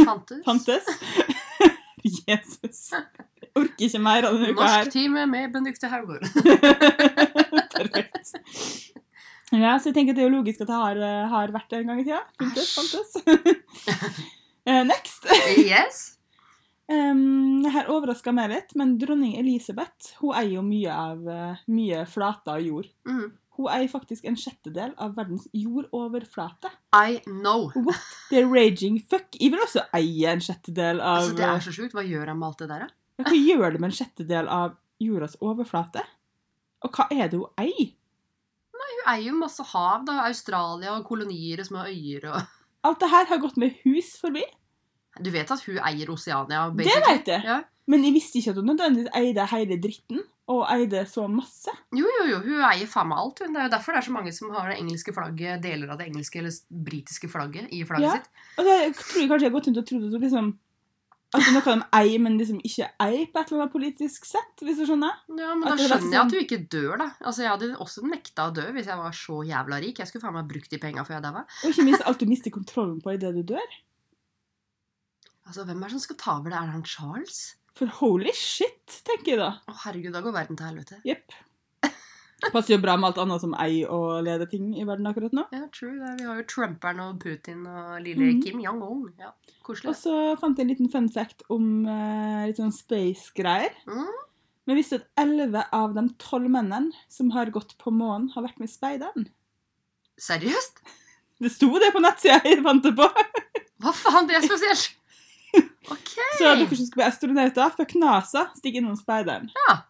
Speaker 2: fantes.
Speaker 1: Fantes? Jesus. Jeg orker ikke mer av denne uka her.
Speaker 2: Norsktime med Benedicte Haugård.
Speaker 1: Perfekt. Ja, så jeg tenker at det er jo logisk at det har, eh, har vært det en gang i tida. Funtes, fantes. Eh, Next.
Speaker 2: yes!
Speaker 1: Um, her overraska meg litt, men dronning Elisabeth hun eier jo mye av eh, mye flater av jord.
Speaker 2: Mm.
Speaker 1: Hun eier faktisk en sjettedel av verdens jordoverflate.
Speaker 2: I know.
Speaker 1: The raging fuck. Jeg vil også eie en sjettedel av
Speaker 2: Altså, det er så sjukt. Hva gjør han med alt det der, da?
Speaker 1: Ja, Hva gjør det med en sjettedel av jordas overflate? Og hva er det hun eier?
Speaker 2: Hun eier jo masse hav, da. Australia og kolonier og små øyer og
Speaker 1: Alt det her har gått med hus forbi.
Speaker 2: Du vet at hun eier Oceania?
Speaker 1: Det
Speaker 2: basically?
Speaker 1: vet jeg.
Speaker 2: Ja.
Speaker 1: Men jeg visste ikke at hun nødvendigvis eide hele dritten, og eide så masse.
Speaker 2: Jo, jo, jo. Hun eier faen meg alt. Hun. Det er jo derfor det er så mange som har det engelske flagget, deler av det engelske eller s- britiske flagget i flagget
Speaker 1: Ja.
Speaker 2: sitt.
Speaker 1: Og da tror Altså, jeg kanskje jeg har gått rundt og trodd at hun liksom at det er noe de eier, men liksom ikke eier på et eller annet politisk sett, hvis du skjønner?
Speaker 2: Ja, Men
Speaker 1: At det
Speaker 2: da
Speaker 1: er
Speaker 2: skjønner jeg
Speaker 1: sånn-
Speaker 2: at hun ikke dør, da. Altså, Jeg hadde også nekta å dø hvis jeg var så jævla rik. Jeg skulle faen meg brukt de penga før jeg daua.
Speaker 1: Og ikke minst alt du mister kontrollen på idet du dør.
Speaker 2: Altså, hvem er det som skal ta over det? Er det han Charles?
Speaker 1: For holy shit, tenker jeg da.
Speaker 2: Å, herregud, da går verden til helvete.
Speaker 1: Jepp. Passer jo bra med alt annet som eier og leder ting i verden akkurat nå.
Speaker 2: Ja, true. det. Vi har jo Trumperen og Putin og lille
Speaker 1: Mhm.
Speaker 2: Kim Jong-un. Ja,
Speaker 1: Og
Speaker 2: koselig.
Speaker 1: så fant jeg en liten fun fact om eh, litt sånn space-greier.
Speaker 2: Mm.
Speaker 1: Men visste du at 11 av de 12 mennene som har gått på månen, har vært med i speideren?
Speaker 2: Seriøst?
Speaker 1: Det sto det på nettsida jeg fant det på!
Speaker 2: Hva faen, det er spesielt! Ok.
Speaker 1: Så dere som skal bli astronauter, fuck NASA, stikk innom speideren.
Speaker 2: Ja.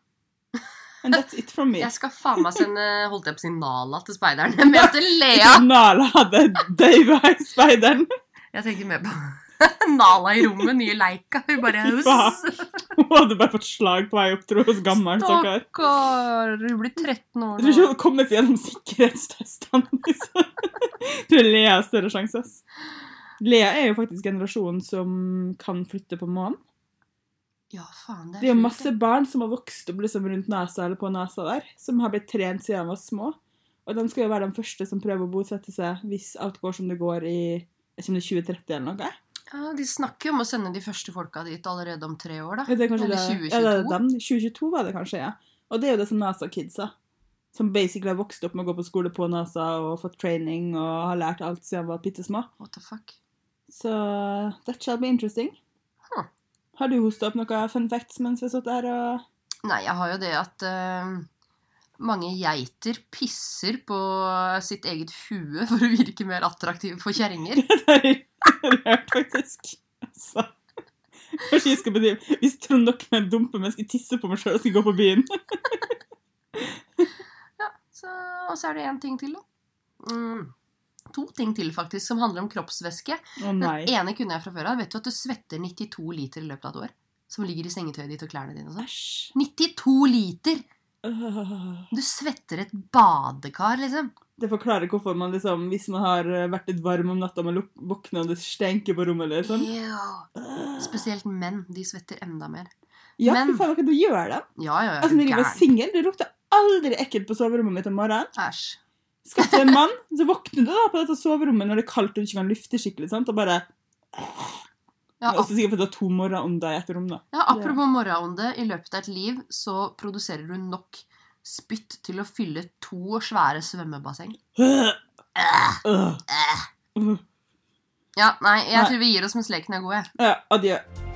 Speaker 1: And that's it from me.
Speaker 2: Jeg skal faen meg sende holdt jeg på å si Nala til speideren. Men jeg heter Lea!
Speaker 1: Ikke Nala hadde daua i speideren.
Speaker 2: Jeg tenker mer på Nala i rommet, nye Leika. Hun bare
Speaker 1: Fy faen. Hun hadde bare fått slag på vei opp, tror jeg, hos gammel stakkar.
Speaker 2: Stakkar! Hun blir 13
Speaker 1: Jeg tror
Speaker 2: år
Speaker 1: ikke hun
Speaker 2: nå.
Speaker 1: hadde kommet seg gjennom sikkerhetstestene. Liksom. Jeg tror Lea har større sjanse. ass. Lea er jo faktisk generasjonen som kan flytte på månen.
Speaker 2: Ja, faen, det
Speaker 1: Det er
Speaker 2: er
Speaker 1: jo
Speaker 2: sjukt,
Speaker 1: masse barn som har vokst opp liksom rundt NASA eller på NASA der, som har blitt trent siden de var små. Og de skal jo være de første som prøver å bosette seg hvis alt går som det går i jeg vet ikke om det er 2030 eller noe.
Speaker 2: det. Ja, de snakker jo om å sende de første folka dit allerede om tre år, da.
Speaker 1: Ja, Det er kanskje
Speaker 2: Eller
Speaker 1: det-
Speaker 2: 2022?
Speaker 1: Ja, det er dem. 2022 var det kanskje, ja. Og det er jo det som NASA-kidsa som basically har vokst opp med å gå på skole på NASA og fått training og har lært alt siden han var bitte små.
Speaker 2: What the fuck?
Speaker 1: Så that shall be interesting.
Speaker 2: Huh.
Speaker 1: Har du hosta opp noen fun facts mens vi har sittet her og
Speaker 2: Nei, jeg har jo det at eh, mange geiter pisser på sitt eget hue for å virke mer attraktive for kjerringer.
Speaker 1: Det har jeg hørt, faktisk. Altså. Kanskje jeg skal bedrive Hvis Trond Dokmen dumper mennesker tisser på meg sjøl og skal gå på byen
Speaker 2: Så- Og så er det én ting til, da. Mm. To ting til, faktisk, som handler om kroppsvæske.
Speaker 1: Å nei.
Speaker 2: Den ene kunne jeg fra før av. Vet du at du svetter 92 liter i løpet av et år? Som ligger i sengetøyet ditt og klærne dine og sånn.
Speaker 1: Æsj.
Speaker 2: 92 liter!
Speaker 1: Øh.
Speaker 2: Du svetter et badekar, liksom.
Speaker 1: Det forklarer hvorfor man liksom Hvis man har eh, vært litt varm om natta, man luk- våkner og det stenker på rommet, liksom.
Speaker 2: Ew.
Speaker 1: Øh.
Speaker 2: Spesielt menn. De svetter enda mer.
Speaker 1: Ja,
Speaker 2: men-
Speaker 1: fy faen, hva kan du gjøre da?
Speaker 2: Ja, ja, ja.
Speaker 1: Altså,
Speaker 2: du
Speaker 1: når jeg var
Speaker 2: gæren.
Speaker 1: singel, det lukta aldri ekkelt på soverommet mitt om morgenen.
Speaker 2: Æsj.
Speaker 1: Skaff deg en mann, så våkner du da på dette soverommet når det er kaldt og du ikke kan lufte skikkelig, sant? og bare
Speaker 2: Ja,
Speaker 1: Og så sikkert fordi du har to morgenånder i ett rom, da.
Speaker 2: Ja, apropos morgenånde. I løpet av et liv så produserer du nok spytt til å fylle to svære svømmebasseng.
Speaker 1: Øh.
Speaker 2: Æh,
Speaker 1: Øh.
Speaker 2: æh.
Speaker 1: Øh.
Speaker 2: Ja, nei, jeg
Speaker 1: Nei.
Speaker 2: tror vi gir oss mens leken er god, jeg.
Speaker 1: Ja, adjø.